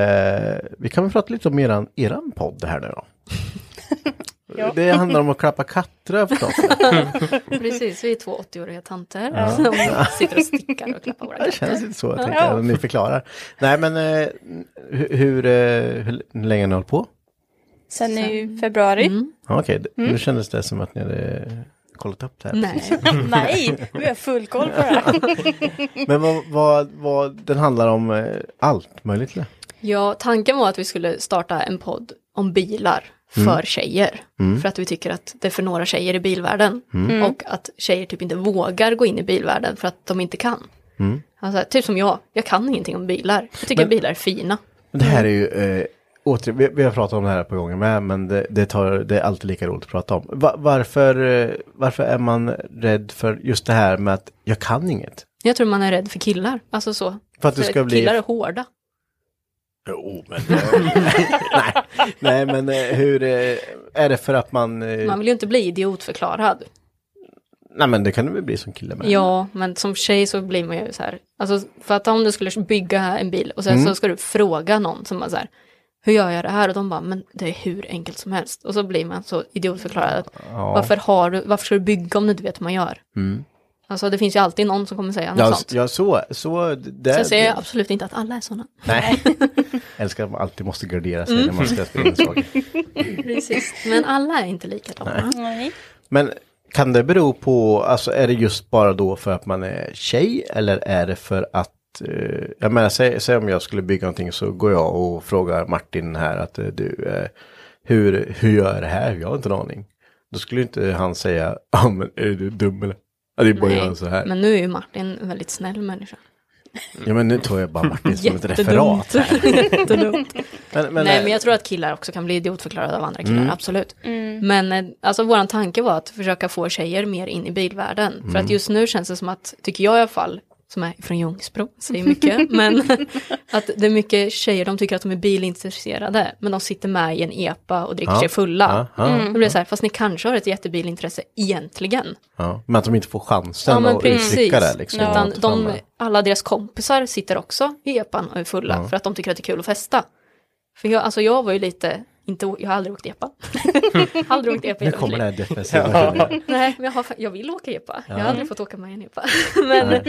eh, vi kan väl prata lite om eran, eran podd här nu då. Det handlar om att klappa katter förstås. Precis, vi är två 80-åriga tanter Ja. som sitter och stickar och klappar våra *laughs* Det katter. känns inte så, jag tänker, även om ni förklarar. Nej, men eh, hur, hur, eh, hur länge har ni hållit på? Sen i februari. Ja, Okej, Mm. nu kändes det som att ni hade kollat upp det här. Nej. *laughs* Nej, vi har full koll på *laughs* det här. Men vad, vad, vad, den handlar om eh, allt möjligt eller? Ja, tanken var att vi skulle starta en podd om bilar för Mm. tjejer. Mm. För att vi tycker att det är för några tjejer i bilvärlden. Mm. Och att tjejer typ inte vågar gå in i bilvärlden för att de inte kan. Mm. Alltså, typ som jag, jag kan ingenting om bilar. Jag tycker Men- bilar är fina. Men Det Mm. här är ju, eh, åter, vi, vi har pratat om det här på gånger med, men det, det, tar, det är alltid lika roligt att prata om. Va, varför, eh, varför är man rädd för just det här med att jag kan inget? Jag tror man är rädd för killar, alltså så. För att du ska bli- Killar är hårda. Jo, men... eh, *laughs* nej, nej, men eh, hur eh, är det för att man... eh, Man vill ju inte bli idiotförklarad. Nej, men det kan du väl bli som kille med? Ja, men som tjej så blir man ju så här. Alltså, för att om du skulle bygga en bil och sen Mm. så ska du fråga någon som bara så här. Hur gör jag det här? Och de bara, men det är hur enkelt som helst. Och så blir man så idiotförklarad. att, Ja. Varför, har du, varför ska du bygga om du inte vet hur man gör? Mm. Alltså det finns ju alltid någon som kommer säga något Ja, sånt. ja, så, så, så det, jag säger absolut inte att alla är sådana. Nej. *laughs* Älskar att man alltid måste gardera sig när man ska spela Mm. in saker. Precis, men alla är inte likadana. Nej. Men kan det bero på, alltså är det just bara då för att man är tjej eller är det för att eh, jag menar, säg, säg om jag skulle bygga någonting så går jag och frågar Martin här att eh, du, eh, hur, hur gör jag det här? Jag har inte en aning. Då skulle ju inte han säga, ja men är du dum eller? Ja, det är bara att göra så här. Men nu är ju Martin en väldigt snäll människa. Ja men nu tar jag bara Martin som ett Jättedumt. referat. här. *laughs* Jättedumt. men, men, Nej, eh, men jag tror att killar också kan bli idiotförklarade av andra killar, Mm. absolut. Mm. Men eh, alltså vår tanke var att försöka få tjejer mer in i bilvärlden. För Mm. att just nu känns det som att, tycker jag i alla fall, som är från Ljungsbro, säger mycket, men *laughs* att det är mycket tjejer, de tycker att de är bilintresserade, men de sitter med i en epa och dricker Ja. sig fulla. Ja, ja. Det blir så här, fast ni kanske har ett jättebilintresse egentligen. ja, men att de inte får chansen att uttrycka det liksom. Utan Och de, träna. alla deras kompisar sitter också i epan och är fulla Ja. för att de tycker att det är kul att festa. För jag, alltså jag var ju lite, inte, jag har aldrig åkt epa. *laughs* aldrig åkt epa i Nu hela kommer mitt det här liv. defensiva. Ja. känner Nej, men jag, har, fa- jag vill åka epa. Jag Ja. har aldrig fått åka med i en epa. *laughs* men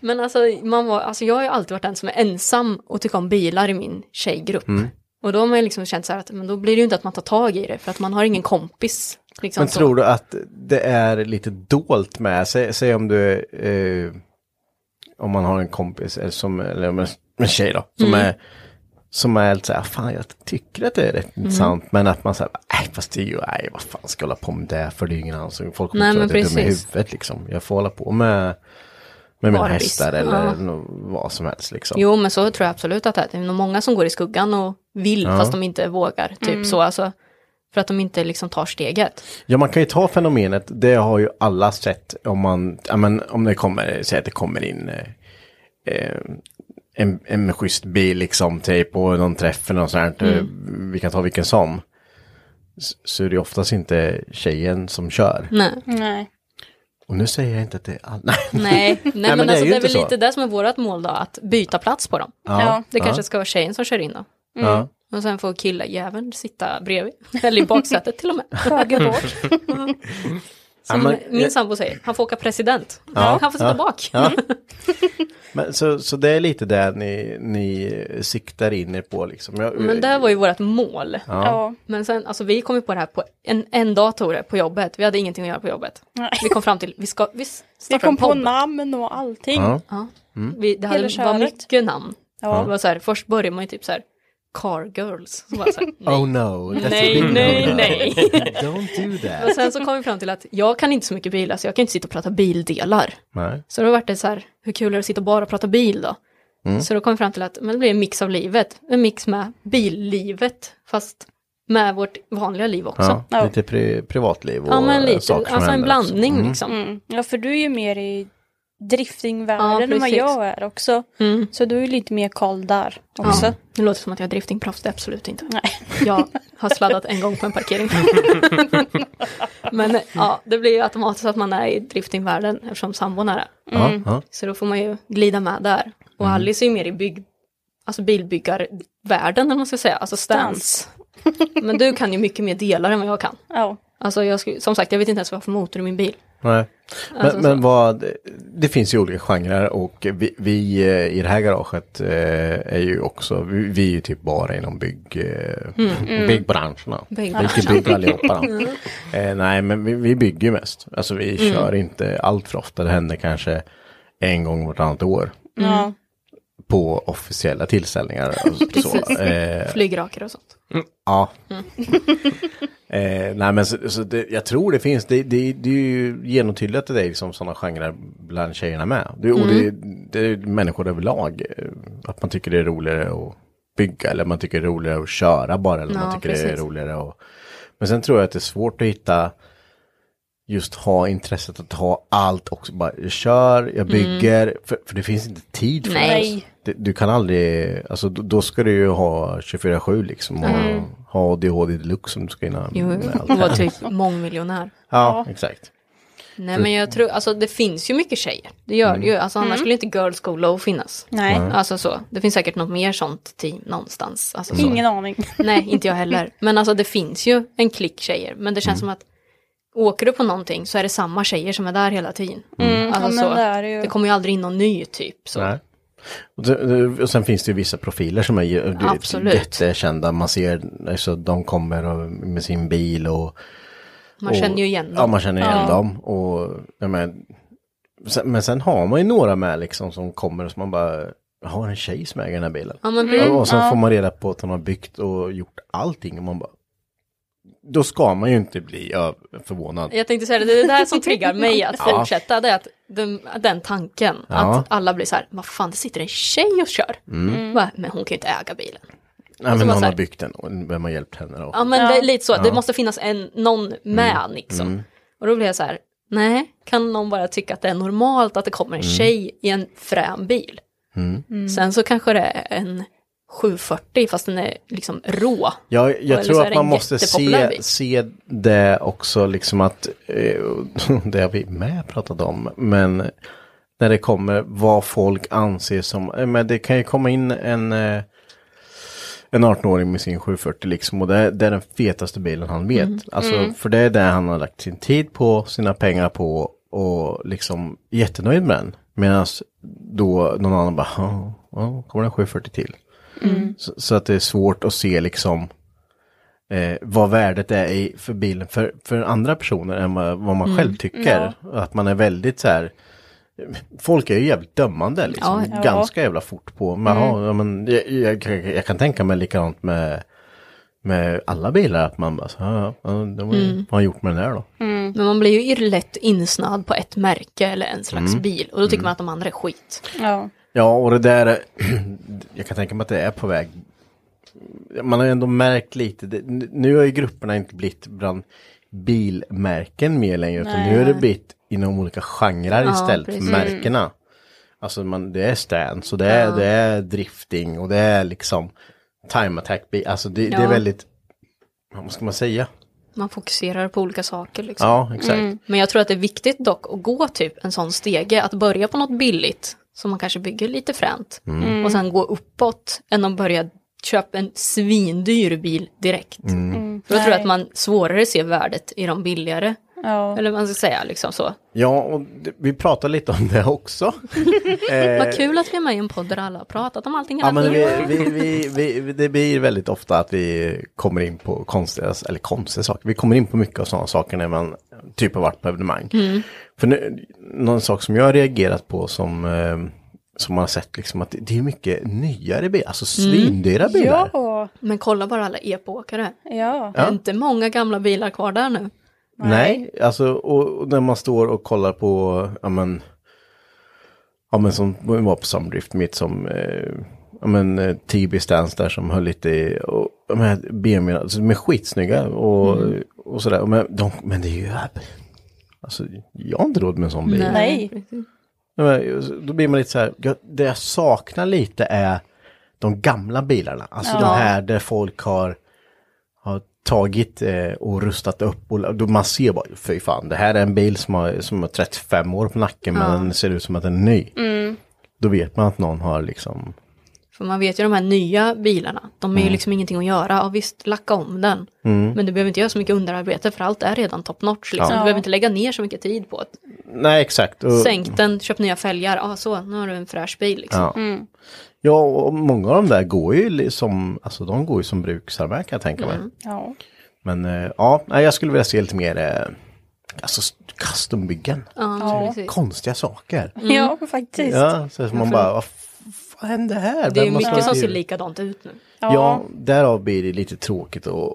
men alltså, man var, alltså, jag har ju alltid varit den som är ensam och tycker om bilar i min tjejgrupp. Mm. Och då har man ju liksom känt så här att men då blir det ju inte att man tar tag i det för att man har ingen kompis. Liksom, Men så. tror du att det är lite dolt med, säg, säg om du, eh, om man har en kompis eller som, eller om en- en tjej då, som Mm. är, som är lite så här, fan jag tycker att det är rätt Mm. intressant, men att man säger, nej fast det är ju, nej vad fan ska jag hålla på med det för det är ju ingen annan som, folk kommer Nej, tro men att jag är dum i precis. huvudet liksom, jag får hålla på med, med mina Barbies. hästar eller Ja. nå- vad som helst liksom. Jo, men så tror jag absolut att det är. Det är nog många som går i skuggan och vill Ja. fast de inte vågar. Typ Mm. så, alltså. För att de inte liksom tar steget. Ja, man kan ju ta fenomenet, det har ju alla sett om man, ja men om det kommer, säg att det kommer in eh, eh, en, en schysst bil liksom, typ, och någon träff eller något sånt, här, Mm. eh, vi kan ta vilken som. S- Så är det ju oftast inte tjejen som kör. *laughs* Nej. Nej. Och nu säger jag inte att det är *laughs* alla. Nej, nej, men, men det är alltså, ju det är inte väl så. lite det som är vårt mål då, att byta plats på dem. Ja. Ja. Det kanske Ja. ska vara tjejen som kör in dem. Mm. Ja. Och sen får killjäveln sitta bredvid, eller i baksätet till och med. Höger *laughs* bak. Ja, Som men- min sambo säger, han får åka president. Ja, han får sitta ja, bak. ja. Men, så, så det är lite det ni, ni siktar in er på liksom. *laughs* Jag, Men det här var ju vårt mål. Ja. Ja. Men sen, alltså vi kom ju på det här på en, en dag tog det, på jobbet. Vi hade ingenting att göra på jobbet. Vi kom fram till, vi ska, vi startar Vi kom en på podd. namn och allting. Ja. Vi, det hade, Hela var köret. mycket namn. Ja. Det var så här, först började man ju typ så här, Car Girls. Så bara så här, Oh no, that's a nej, big nej, no-no. nej. *laughs* Don't do *laughs* that. Och sen så kom vi fram till att jag kan inte så mycket bilar så jag kan inte sitta och prata bildelar. Nej. Så då vart det så här, hur kul är det att sitta och bara prata bil då? Mm. Så då kom vi fram till att men det blir en mix av livet, en mix med billivet, fast med vårt vanliga liv också. Ja, Lite pri- privatliv och eh, Ja, men lite. saker som Alltså en händer. blandning, Mm. liksom. Mm. Ja, för du är ju mer i driftingvärlden Ja, än vad precis. Mm. jag är också. Så du är ju lite mer koll där också. Ja, det låter som att jag är driftingproffs, det är absolut inte. Nej. Jag har sladdat en gång på en parkering. Men ja, det blir ju automatiskt att man är i driftingvärlden eftersom sambon är det. Ja, Mm. ja. Så då får man ju glida med där. Och Mm. Alice är ju mer i bygg, alltså bilbyggarvärlden, om man ska säga, alltså stance. *laughs* Men du kan ju mycket mer delar än vad jag kan. Ja. Alltså jag skulle, som sagt, jag vet inte ens vad jag har för motor i min bil. Nej. Men, Alltså, men vad, det finns ju olika genrer och vi, vi eh, i det här garaget eh, är ju också, vi, vi är ju typ bara inom bygg, eh, Mm, mm. byggbranscherna. Byggbranschen. Vi är inte bygg allihopa. då. Mm. eh, nej, men vi, vi bygger ju mest. Alltså vi Mm. kör inte allt för ofta, det händer kanske en gång vartannat år Mm. Ja. på officiella tillställningar. *laughs* Och Precis. så. Eh, Flygrakar och sånt. Ja. Mm. *laughs* Eh, nej men så, så det, jag tror det finns, det, det, det är ju genomtydligt att det är liksom sådana genrer bland tjejerna med. Det, och det, Mm. det är människor överlag, eh, att man tycker det är roligare att bygga eller man tycker det är roligare att köra bara eller man Ja, tycker det är precis. roligare att... Men sen tror jag att det är svårt att hitta just ha intresset att ha allt också. Bara, jag kör, jag bygger, för, för det finns inte tid för Mm. Nej. det. det. Du kan aldrig, alltså då, då ska du ju ha 24-7 liksom och Mm. ha ADHD deluxe som du ska hinna Jo, med *laughs* allt. hon var typ mångmiljonär. Ja, exakt. Nej För- men jag tror, alltså det finns ju mycket tjejer. Det gör det ju, alltså annars Mm. skulle inte Girls Go Low finnas. Nej. Nej. Alltså så, det finns säkert något mer sånt team någonstans. Alltså, Mm. så. Ingen aning. *laughs* Nej, inte jag heller. Men alltså det finns ju en klick tjejer, men det känns som Mm. att åker du på någonting så är det samma tjejer som är där hela tiden. Mm. Ja, men Alltså, så. det är det ju. det kommer ju aldrig in någon ny typ. Nej. Och, sen- och sen finns det ju vissa profiler som är ju- det är Absolut. jättekända. Man ser, alltså, de kommer och, med sin bil och... Man känner ju igen dem. Ja, man känner igen Ja. dem. Och, jag men, sen, men sen har man ju några med liksom som kommer och som man bara, har en tjej som äger den här bilen? Ja, men precis. och så Mm, Ja. får man reda på att hon har byggt och gjort allting och man bara, då ska man ju inte bli ö, förvånad. Jag tänkte säga det, det är det här som triggar mig att Mm. Ja. fortsätta, det är att den, den tanken, Ja. att alla blir så här, vad fan det sitter en tjej och kör. Mm. Va? Men hon kan ju inte äga bilen. Och så Nej, men Alltså, bara hon så har här- byggt den och vem har hjälpt henne då? Ja men det är lite så, det Ja. måste finnas en, någon med Mm. liksom. Mm. Och då blir jag så här, nej, kan någon bara tycka att det är normalt att det kommer en Mm. tjej i en frän bil? Mm. Sen så kanske det är en 740 fast den är liksom rå. Ja, Eller så jag tror är att det en man måste jättepopulär se, bil. se det också, liksom att, eh, *laughs* det har vi med pratat om, men när det kommer vad folk anser som, eh, men det kan ju komma in en, eh, en 18-åring med sin 740 liksom och det, det är den fetaste bilen han vet. Mm. Alltså, Mm. För det är det han har lagt sin tid på, sina pengar på och liksom jättenöjd med den. Medan då någon annan bara, ja, ja, kommer den 740 till. Mm. Så, så att det är svårt att se liksom eh, vad värdet är i, för bilen för, för andra personer än vad, vad man Mm. själv tycker. Att man är väldigt så här, folk är ju jävligt dömande liksom, Ja, ja. ganska jävla fort på. Men, Mm. ja, ja, men jag, jag, kan- jag kan tänka mig likadant med, med alla bilar, att man bara så, ja, ja, ja, det var ju, Mm. vad har han gjort med den här då? Men man blir ju ir- lätt insnöad på ett märke eller en slags Mm. bil och då tycker Mm. man att de andra är skit. Ja. *clears throat* Ja, och det där, jag kan tänka mig att det är på väg man har ju ändå märkt lite, det, nu har ju grupperna inte blivit bland bilmärken mer längre, utan Nej. nu har det blivit inom olika genrer Ja, istället för precis. märkena. Alltså man, det är stance och det är, Ja. det är drifting och det är liksom time attack bil, alltså det, det Ja. är väldigt, vad ska man säga? Man fokuserar på olika saker. Liksom. Ja, exakt. Mm. Men jag tror att det är viktigt dock att gå typ en sån stege, att börja på något billigt som man kanske bygger lite fränt Mm. och sen gå uppåt än att börja köpa en svindyr bil direkt. Mm. Mm. För jag tror Nej. att man svårare ser värdet i de billigare. Ja. Eller vad man ska säga liksom så. Ja, och det, vi pratar lite om *laughs* det också. Eh, Vad kul att vi är med i en podd där alla har pratat om allting Ja, hela men vi, tiden. vi, vi, vi, vi- det blir väldigt ofta att vi kommer in på konstiga, eller konstiga saker. Vi kommer in på mycket av sådana saker när man typ har varit på evenemang. Mm. För nu, någon sak som jag har reagerat på som, eh, som man har sett liksom att det, det är mycket nyare bilar, alltså svindyra bilar. Ja. Men kolla bara alla epo-åkare. Ja. Det är inte många gamla bilar kvar där nu. Nej, alltså och, och när man står och kollar på, ja men, ja men som var på samdrift mitt som, eh, ja men eh, TB Stance där som höll lite, i- och de här BMWn, alltså de är skitsnygga och, Mm. och sådär. Och Men, de, men det är ju, alltså jag har inte råd med en sån bil. Ja, men Då blir man lite så här, jag- det jag saknar lite är de gamla bilarna. Alltså Ja. de här där folk har, har tagit eh, och rustat upp. Och, då man ser bara, fy fan, det här är en bil som har, som har 35 år på nacken Ja. men den ser ut som att den är ny. Mm. Då vet man att någon har liksom, För man vet ju de här nya bilarna, de är ju Mm. liksom ingenting att göra. Ja visst, lacka om den. Mm. Men du behöver inte göra så mycket underarbete för allt är redan top notch. Liksom. Ja. Du behöver inte lägga ner så mycket tid på att nej exakt. Och, sänk den, köp nya fälgar, ja så, nu har du en fräsch bil. Liksom. Ja. Mm. Ja, och många av de där går ju liksom, alltså de går ju som bruksarbeten kan jag tänka mig. Mm. Ja. Men eh, ja, nej, jag skulle vilja se lite mer, eh, alltså s- custombyggen. Ja, Så precis. Konstiga saker. Mm. Ja, faktiskt. Ja, så att man bara, vad vad hände här? Det är ju Vem har mycket som slagit ser ur? likadant ut nu. Ja. därav blir det lite tråkigt att, att,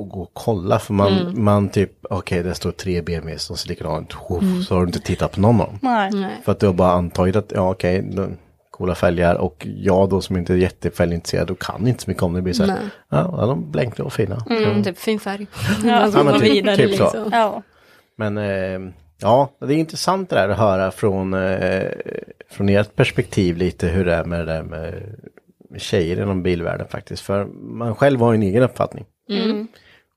att gå och kolla. För man, Mm. man typ, okej, där står tre BMWs som ser likadana ut. Uff, Mm. Så har du inte tittat på någon av dem. Nej. Nej. För att du har bara antagit att, ja okej, de- coola fälgar. Och jag då som inte är jättefälgintresserad och kan inte så mycket om det blir så här, Nej. ja, ja, de blänkte och fina. Mm, Ja. Typ fin färg. *laughs* Ja, Alltså, men gå typ- vidare, typ så. liksom. Ja. Men eh, ja, det är intressant det där att höra från, eh, från ert perspektiv lite hur det är med det där med tjejer inom bilvärlden faktiskt. För man själv har ju en egen uppfattning. Mm.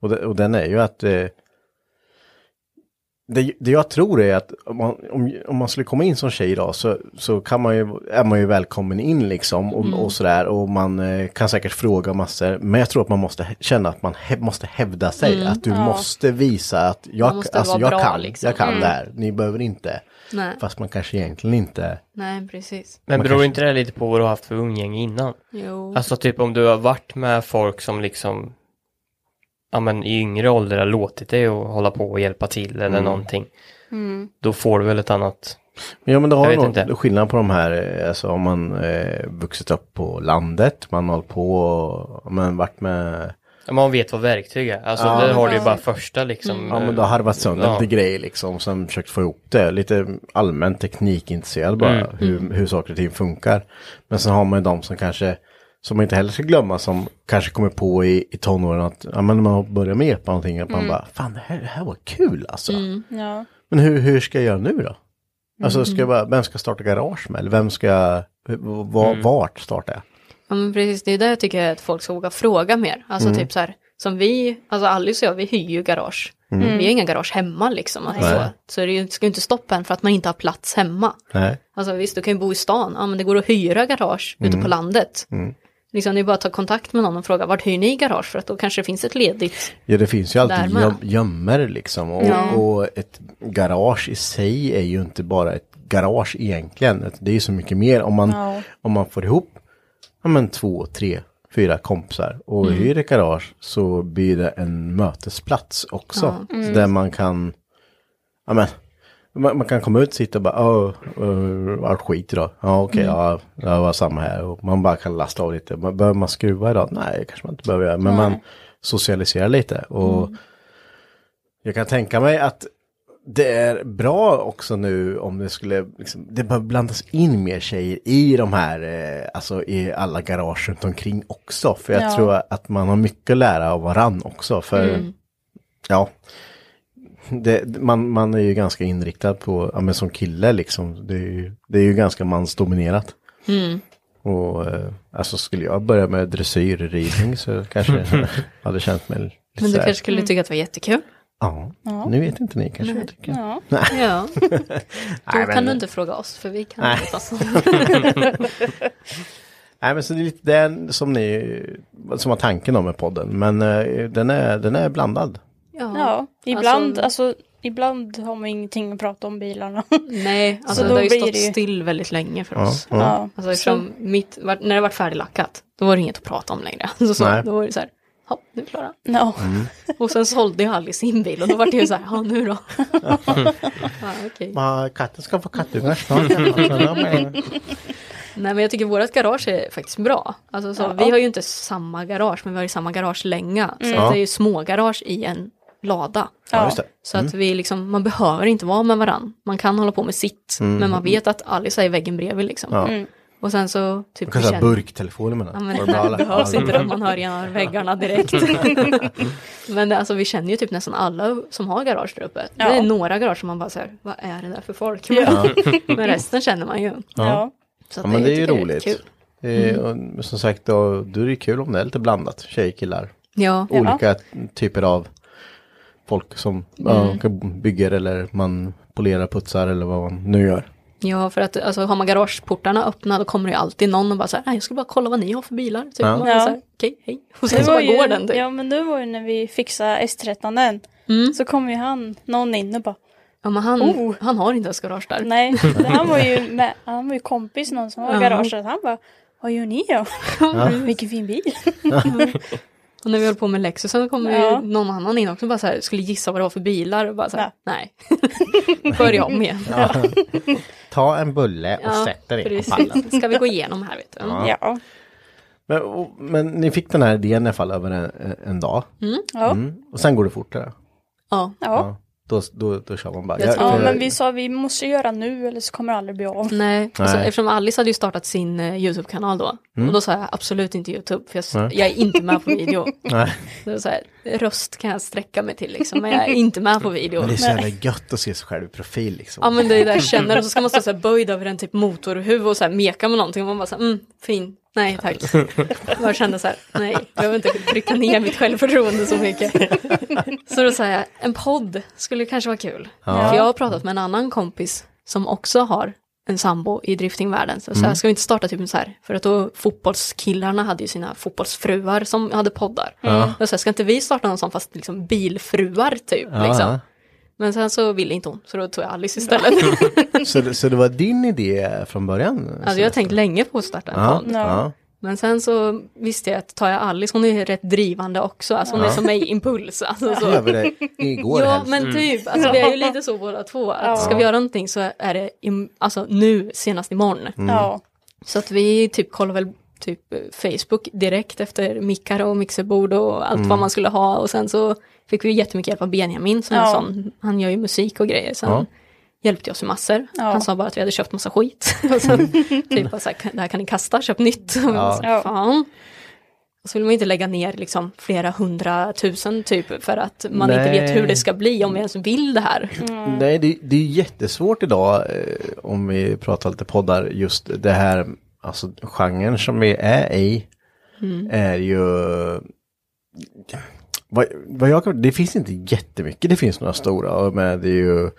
Och, det, och den är ju att eh, det, det jag tror är att om man, om, om man skulle komma in som tjej idag så, så kan man ju, är man ju välkommen in liksom och, Mm. och sådär och man eh, kan säkert fråga massor. Men jag tror att man måste he- känna att man he, måste hävda sig. Mm. Att du Ja. måste visa att jag, Man måste alltså, vara jag bra, kan, liksom. jag kan Mm. det här. Ni behöver inte. Nej. Fast man kanske egentligen inte. Nej, precis. Men Man beror kanske- inte det här lite på vad du har haft för umgänge innan? Jo. Alltså typ om du har varit med folk som liksom ja men i yngre ålder har låtit dig att hålla på och hjälpa till eller Mm. någonting. Mm. Då får du väl ett annat. Ja men det Jag har ju vet någon skillnad på de här, eh, alltså om man eh, vuxit upp på landet, man har hållit på och men, varit med Ja, Man vet vad verktyg är. Alltså Ja. där har du ju Ja. bara första liksom. Ja men du har harvat sönder Ja. lite grejer liksom. Sen försökt få ihop det. Lite allmänt teknikintresserad bara. Mm. Hur, hur saker och ting funkar. Men sen har man ju de som kanske. Som man inte heller ska glömma. Som kanske kommer på i, i tonåren att. Ja men när man börjar med epa någonting. Att man Mm. bara. Fan det här, det här var kul alltså. Mm. Ja. Men hur, hur ska jag göra nu då? Alltså ska Mm. jag bara, vem ska starta garage med? Eller vem ska. v- Var, Mm. Vart startar jag? Ja men precis, det är där jag tycker att folk ska våga fråga mer. Alltså Mm. typ så här, som vi, alltså Alice och jag, vi hyr ju garage. Mm. Vi har inga garage hemma liksom. Alltså, Nej. så så det är ju- ska ju inte stoppa en för att man inte har plats hemma. Nej. Alltså visst, du kan ju bo i stan, ja men det går att hyra garage ute Mm. på landet. Mm. Liksom det är bara att ta kontakt med någon och fråga, vart hyr ni garage? För att då kanske det finns ett ledigt. Ja, det finns ju Där alltid med. göm- gömmer liksom. Och, Ja. och ett garage i sig är ju inte bara ett garage egentligen. Det är ju så mycket mer om man, Ja. om man får ihop ja, men två, tre, fyra kompisar och Mm. hyr ett garage så blir det en mötesplats också. Ja. Mm. Där man kan, ja men, man, man kan komma ut och sitta och bara, åh, uh, allt skit idag. Ja okej, Mm. ja, det var samma här. Och man bara kan lasta av lite. Man- Behöver man skruva idag? Nej, kanske man inte behöver göra. Men Nej. man socialiserar lite. Och Mm. jag kan tänka mig att det är bra också nu om det skulle, liksom, det bör blandas in mer tjejer i de här, eh, alltså i alla garage runt omkring också. För jag Ja. tror att man har mycket att lära av varann också. För Mm. ja, det, man, man är ju ganska inriktad på, ja men som kille liksom, det är ju, det är ju ganska mansdominerat. Mm. Och eh, alltså skulle jag börja med dressyrridning så *laughs* kanske jag hade känt mig lite Men du sådär. kanske skulle tycka att det var jättekul? Ja, Ja. nu vet inte ni kanske Nej. vad jag tycker. Ja. *laughs* Nej. Ja. Då Nej, kan men- du inte fråga oss, för vi kan Nej. inte ta *laughs* sånt. Nej men så det är lite den som ni, som var tanken om med podden. Men eh, den är, den är blandad. Ja, ibland, alltså- alltså... ibland har man ingenting att prata om bilarna. Nej, alltså det har ju stått still väldigt länge för Ja, oss. ja. Ja, Alltså eftersom mitt, var- när det var färdiglackat, då var det inget att prata om längre. *laughs* Så, så, Nej. då var det så här, ja, nu är vi klara. No. Mm. Och sen sålde jag aldrig sin bil och då var det ju så här, ja nu *laughs* då? ja, okej. Ja, katten ska få kattungar snart. Mm. Nej men jag tycker vårt garage är faktiskt bra. Alltså, så, Ja. Vi har ju inte samma garage men vi har ju samma garagelänga. Så Mm. att det Ja. är ju smågarage i en lada. Ja, just det. Så att Mm. vi liksom, man behöver inte vara med varann. Man kan hålla på med sitt Mm. men man vet att Alice är i väggen bredvid liksom. Ja. Mm. Och sen så typ Du kan säga vi känner- burktelefoner med Ja, den. men, Var det bra, det eller? behövs Ja. inte det, man hör genom väggarna *laughs* direkt. men det, alltså, vi känner ju typ nästan alla som har garage där uppe. Ja. Det är några garage som man bara säger, vad är det där för folk? Ja. *laughs* men resten känner man ju. Ja. Så att Ja, men det är ju tycker jag roligt. kul. Mm. Det är, och Som sagt, då, då är det kul om det är lite blandat, tjejer, killar. Ja. Olika typer av folk som Mm. ja, bygger eller man polerar, putsar eller vad man nu gör. Ja, för att alltså, har man garageportarna öppna då kommer det ju alltid någon och bara så här, "Nej, jag skulle bara kolla vad ni har för bilar. Typ. Ja. Man bara så här, Okej, hej. Och sen Det så var bara ju, går den. Typ. Mm. Ja men det var ju när vi fixade S13 så kom ju han, någon in och bara Ja, men han, Oh. han har inte ens garage där. Nej, det- han var ju, med, han var ju kompis någon som var i Ja. garaget. Han bara, vad gör ni då? Ja. Vilken fin bil. Och när vi höll på med Lexusen kom det Ja. ju någon annan in också och bara så här, skulle gissa vad det var för bilar och bara så här, nej. *laughs* Börja om igen. Ja. *laughs* Ta en bulle och Ja, sätt dig på precis. Mm, pallen. Ska vi gå igenom här vet du? Ja. Men, och, men ni fick den här idén i alla fall över en, en dag. Mm. Ja. Och sen går det fortare. Ja. Ja. Då, då, då kör man bara. Ja, Jag- jag- men vi sa vi måste göra nu eller så kommer det aldrig bli av. Nej, och så, Nej. eftersom Alice hade ju startat sin eh, YouTube-kanal då. Mm. Och då sa jag absolut inte YouTube, för jag, s- Nej. jag är inte med på video. Nej. Det så här, röst kan jag sträcka mig till liksom, men jag är inte med på video. Men det är så jävla Nej. gött att se sig själv i profil liksom. Ja men det är det jag känner och så ska man stå så här böjd över en typ motorhuvud och så här meka med någonting och man bara så här, mm, fin, nej *laughs* tack. Jag bara kände så här, nej, jag behöver inte trycka ner mitt självförtroende så mycket. Så då säger jag, en podd skulle kanske vara kul. Ja. För jag har pratat med en annan kompis som också har en sambo i driftingvärlden. Så, så här, Mm. ska vi inte starta typ en så här, för att då fotbollskillarna hade ju sina fotbollsfruar som hade poddar. Ja. Och så här, ska inte vi starta någon sån fast liksom bilfruar typ? Ja. Liksom. Men sen så ville inte hon, så då tog jag Alice istället. *laughs* så, det- så det var din idé från början? Alltså jag har tänkt länge på att starta en Ja, podd. ja. Men sen så visste jag att tar jag Alice, hon är ju rätt drivande också. Alltså hon är Ja. som mig, impuls. Alltså, så. Jag gör det igår Ja, helst. men Mm. typ. Alltså, vi är ju lite så båda två. Att Ja. Ska vi göra någonting så är det im- alltså, nu, senast imorgon. Mm. Ja. Så att vi typ kollar väl typ Facebook direkt efter mickar och mixerbord och allt Mm. vad man skulle ha. Och sen så fick vi jättemycket hjälp av Benjamin som är en Ja. sån, han gör ju musik och grejer. Sen Ja. hjälpte oss i massor. Ja. Han sa bara att vi hade köpt massa skit. *laughs* och sen typ bara så här, det här kan ni kasta, köp nytt. *laughs* Och vi bara så här, Ja. Fan. Och så vill man ju inte lägga ner liksom flera hundratusen typ för att man inte vet Nej. hur det ska bli om vi ens vill det här. Nej, det, det är jättesvårt idag eh, om vi pratar lite poddar, just det här, alltså genren som vi är i Mm. är ju... Vad, vad jag kan, det finns inte jättemycket, det finns några stora, och med det är ju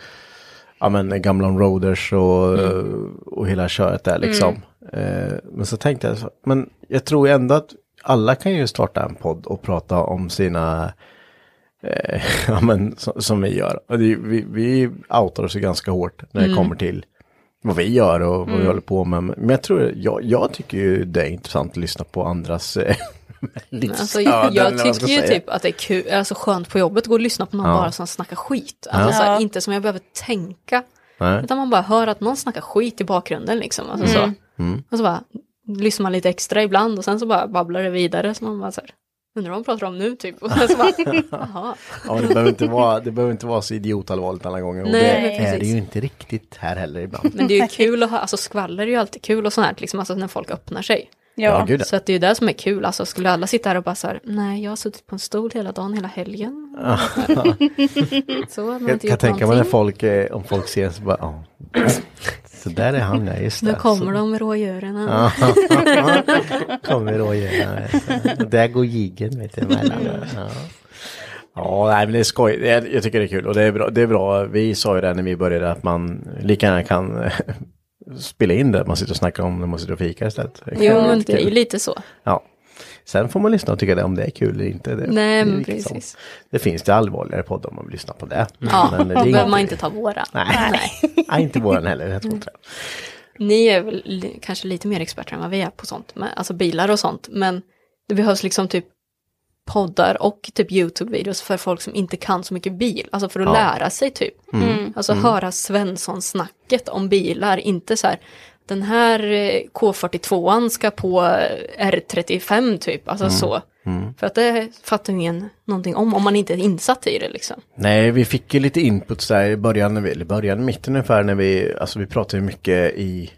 ja, men, gamla Roaders och, Mm. och hela köret där liksom. Eh, men så tänkte jag, så- men jag tror ändå att alla kan ju starta en podd och prata om sina Eh, *laughs* ja, men, som, som vi gör. Och det, vi, vi outar oss ju ganska hårt när det Mm. kommer till vad vi gör och vad vi Mm. håller på med. Men jag, tror, jag, jag tycker ju det är intressant att lyssna på andras eh, *laughs* livsöden. Alltså, eller jag, vad man jag ska tycker ju säga. typ att det är kul, alltså skönt på jobbet att gå och lyssna på någon Ja. bara som snackar skit. Alltså, Ja. så här, Ja. inte som jag behöver tänka. Nej. Utan man bara hör att någon snackar skit i bakgrunden liksom. Alltså, så. Mm. Och så bara lyssnar man lite extra ibland och sen så bara babblar det vidare. Så man bara så här, undrar vad de pratar om nu typ. *laughs* Och sen så bara, jaha. Ja, men det behöver inte vara, det behöver inte vara så idiotallvarligt alla gånger. Och Nej, det är det precis. ju inte riktigt här *laughs* heller ibland. Men det är ju kul att ha, alltså skvaller är ju alltid kul och sånt här, liksom, alltså när folk öppnar sig. Ja. Ja, gud, ja. Så att det är ju det som är kul, alltså skulle alla sitta här och bara så här, nej jag har suttit på en stol hela dagen, hela helgen. *laughs* Ja. så har man Jag inte kan gjort tänka mig när någonting. folk, eh, om folk ser en så bara, ja. Så där är han, ja just det. Nu kommer så. de rådjuren. Ja. kommer rådjuren. vet du. Och Där går jiggen vet du, emellan. Mm. Ja. Ja, nej, men det är skoj. Jag, jag tycker det är kul och det är, bra, det är bra. Vi sa ju det när vi började att man lika gärna kan eh, spela in det man sitter och snackar om när man sitter och fikar istället. Det kan *laughs* Jo, vara men lite det är ju kul. lite så. Ja. Sen får man lyssna och tycka det, om det är kul eller inte. Det, Nej, det är men riktigt sant. precis. Det finns det allvarligare poddar om man vill lyssna på det. Ja, Men det är då behöver man inte- inte ta våra. Nej. *laughs* Nej, inte våran heller. Jag tror inte. det. Ni är väl li- kanske lite mer experter än vad vi är på sånt, men, alltså bilar och sånt, men det behövs liksom typ poddar och typ YouTube-videos för folk som inte kan så mycket bil, alltså för att Ja. lära sig typ. Mm. Alltså Mm. höra Svensson-snacket om bilar, inte så här den här eh, K42an ska på eh, R35 typ, alltså Mm. så. Mm. För att det fattar ingen någonting om, om man inte är insatt i det liksom. Nej, vi fick ju lite input så här i början, när vi, eller början, mitten ungefär när vi, alltså vi pratade ju mycket i,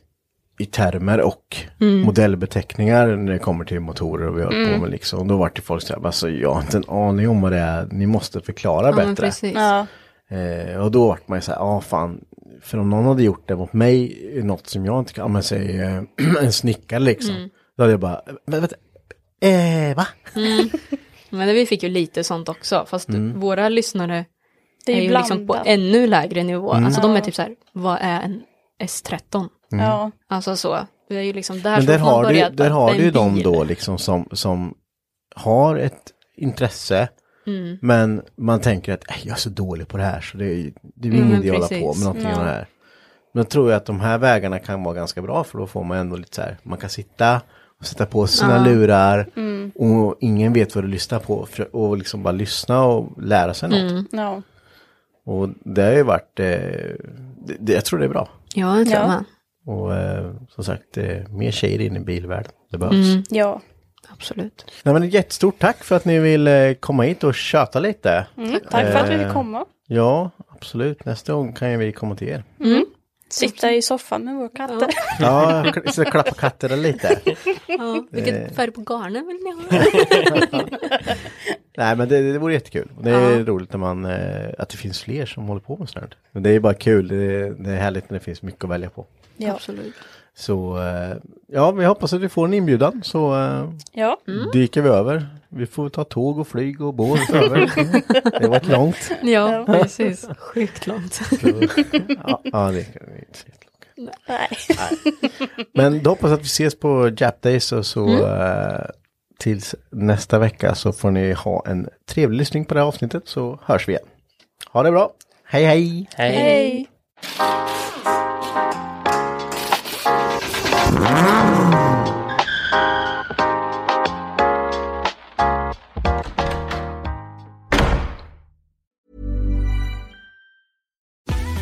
i termer och Mm. modellbeteckningar när det kommer till motorer och vi höll på Mm. med liksom. Då var det folk så här, alltså jag har inte en aning om vad det är, ni måste förklara Ja, men bättre. precis. Ja. Eh, och då vart man ju så här, ja ah, fan, för om någon hade gjort det mot mig, eh, något som jag inte kan, ja men säg eh, *clears throat* en snickare liksom. Mm. Då hade jag bara, men vänta, eh va? Mm. Men vi fick ju lite sånt också, fast Mm. våra lyssnare Det är är, ju ju liksom på blandat. ännu lägre nivå. Mm. Alltså de är Ja. typ så här, vad är en S13? Mm. Ja. Alltså så, det är ju liksom där Men som där man har, du, börjat, där bara, har det är du ju en de bil. då liksom som, som har ett intresse. Mm. Men man tänker att "Äh, jag är så dålig på det här så det, är- det är Mm, ingen men idé att hålla på precis. med någonting Ja. av det här. Men jag tror jag att de här vägarna kan vara ganska bra för då får man ändå lite så här, man kan sitta och sätta på sina Ja. lurar Mm. och ingen vet vad du lyssnar på för- och liksom bara lyssna och lära sig något. Mm. Ja. Och det har ju varit, eh, det, det, jag tror det är bra. Ja, det tror Ja. jag med. Och eh, som sagt, eh, mer tjejer in i bilvärlden, det behövs. Mm. Ja. Absolut. Nej, men ett jättestort tack för att ni vill eh, komma hit och tjata lite. Mm, tack för att vi Eh, fick komma. Ja, absolut. Nästa gång kan ju vi komma till er. Mm. Sitta i soffan med vår katt. Ja, kl- så klappa katterna lite. Ja, Eh. vilket färg på garnen vill ni ha? Nej, men det, det vore jättekul. Och Det är roligt när man, eh, att det finns fler som håller på med sånt här. Men det är bara kul. Det, det är härligt när det finns mycket att välja på. *laughs* Ja. Absolut. Så eh, ja, vi hoppas att vi får en inbjudan så eh, Ja. dyker vi över. Vi får ta tåg och flyg och båt över. Det var långt. Ja, precis. Sjukt långt. Ja, ja, det kan vi inte. Nej. Men då hoppas jag att vi ses på Jap Days och så Mm. eh, tills nästa vecka så får ni ha en trevlig lyssning på det här avsnittet så hörs vi igen. Ha det bra. Hej hej! Hej.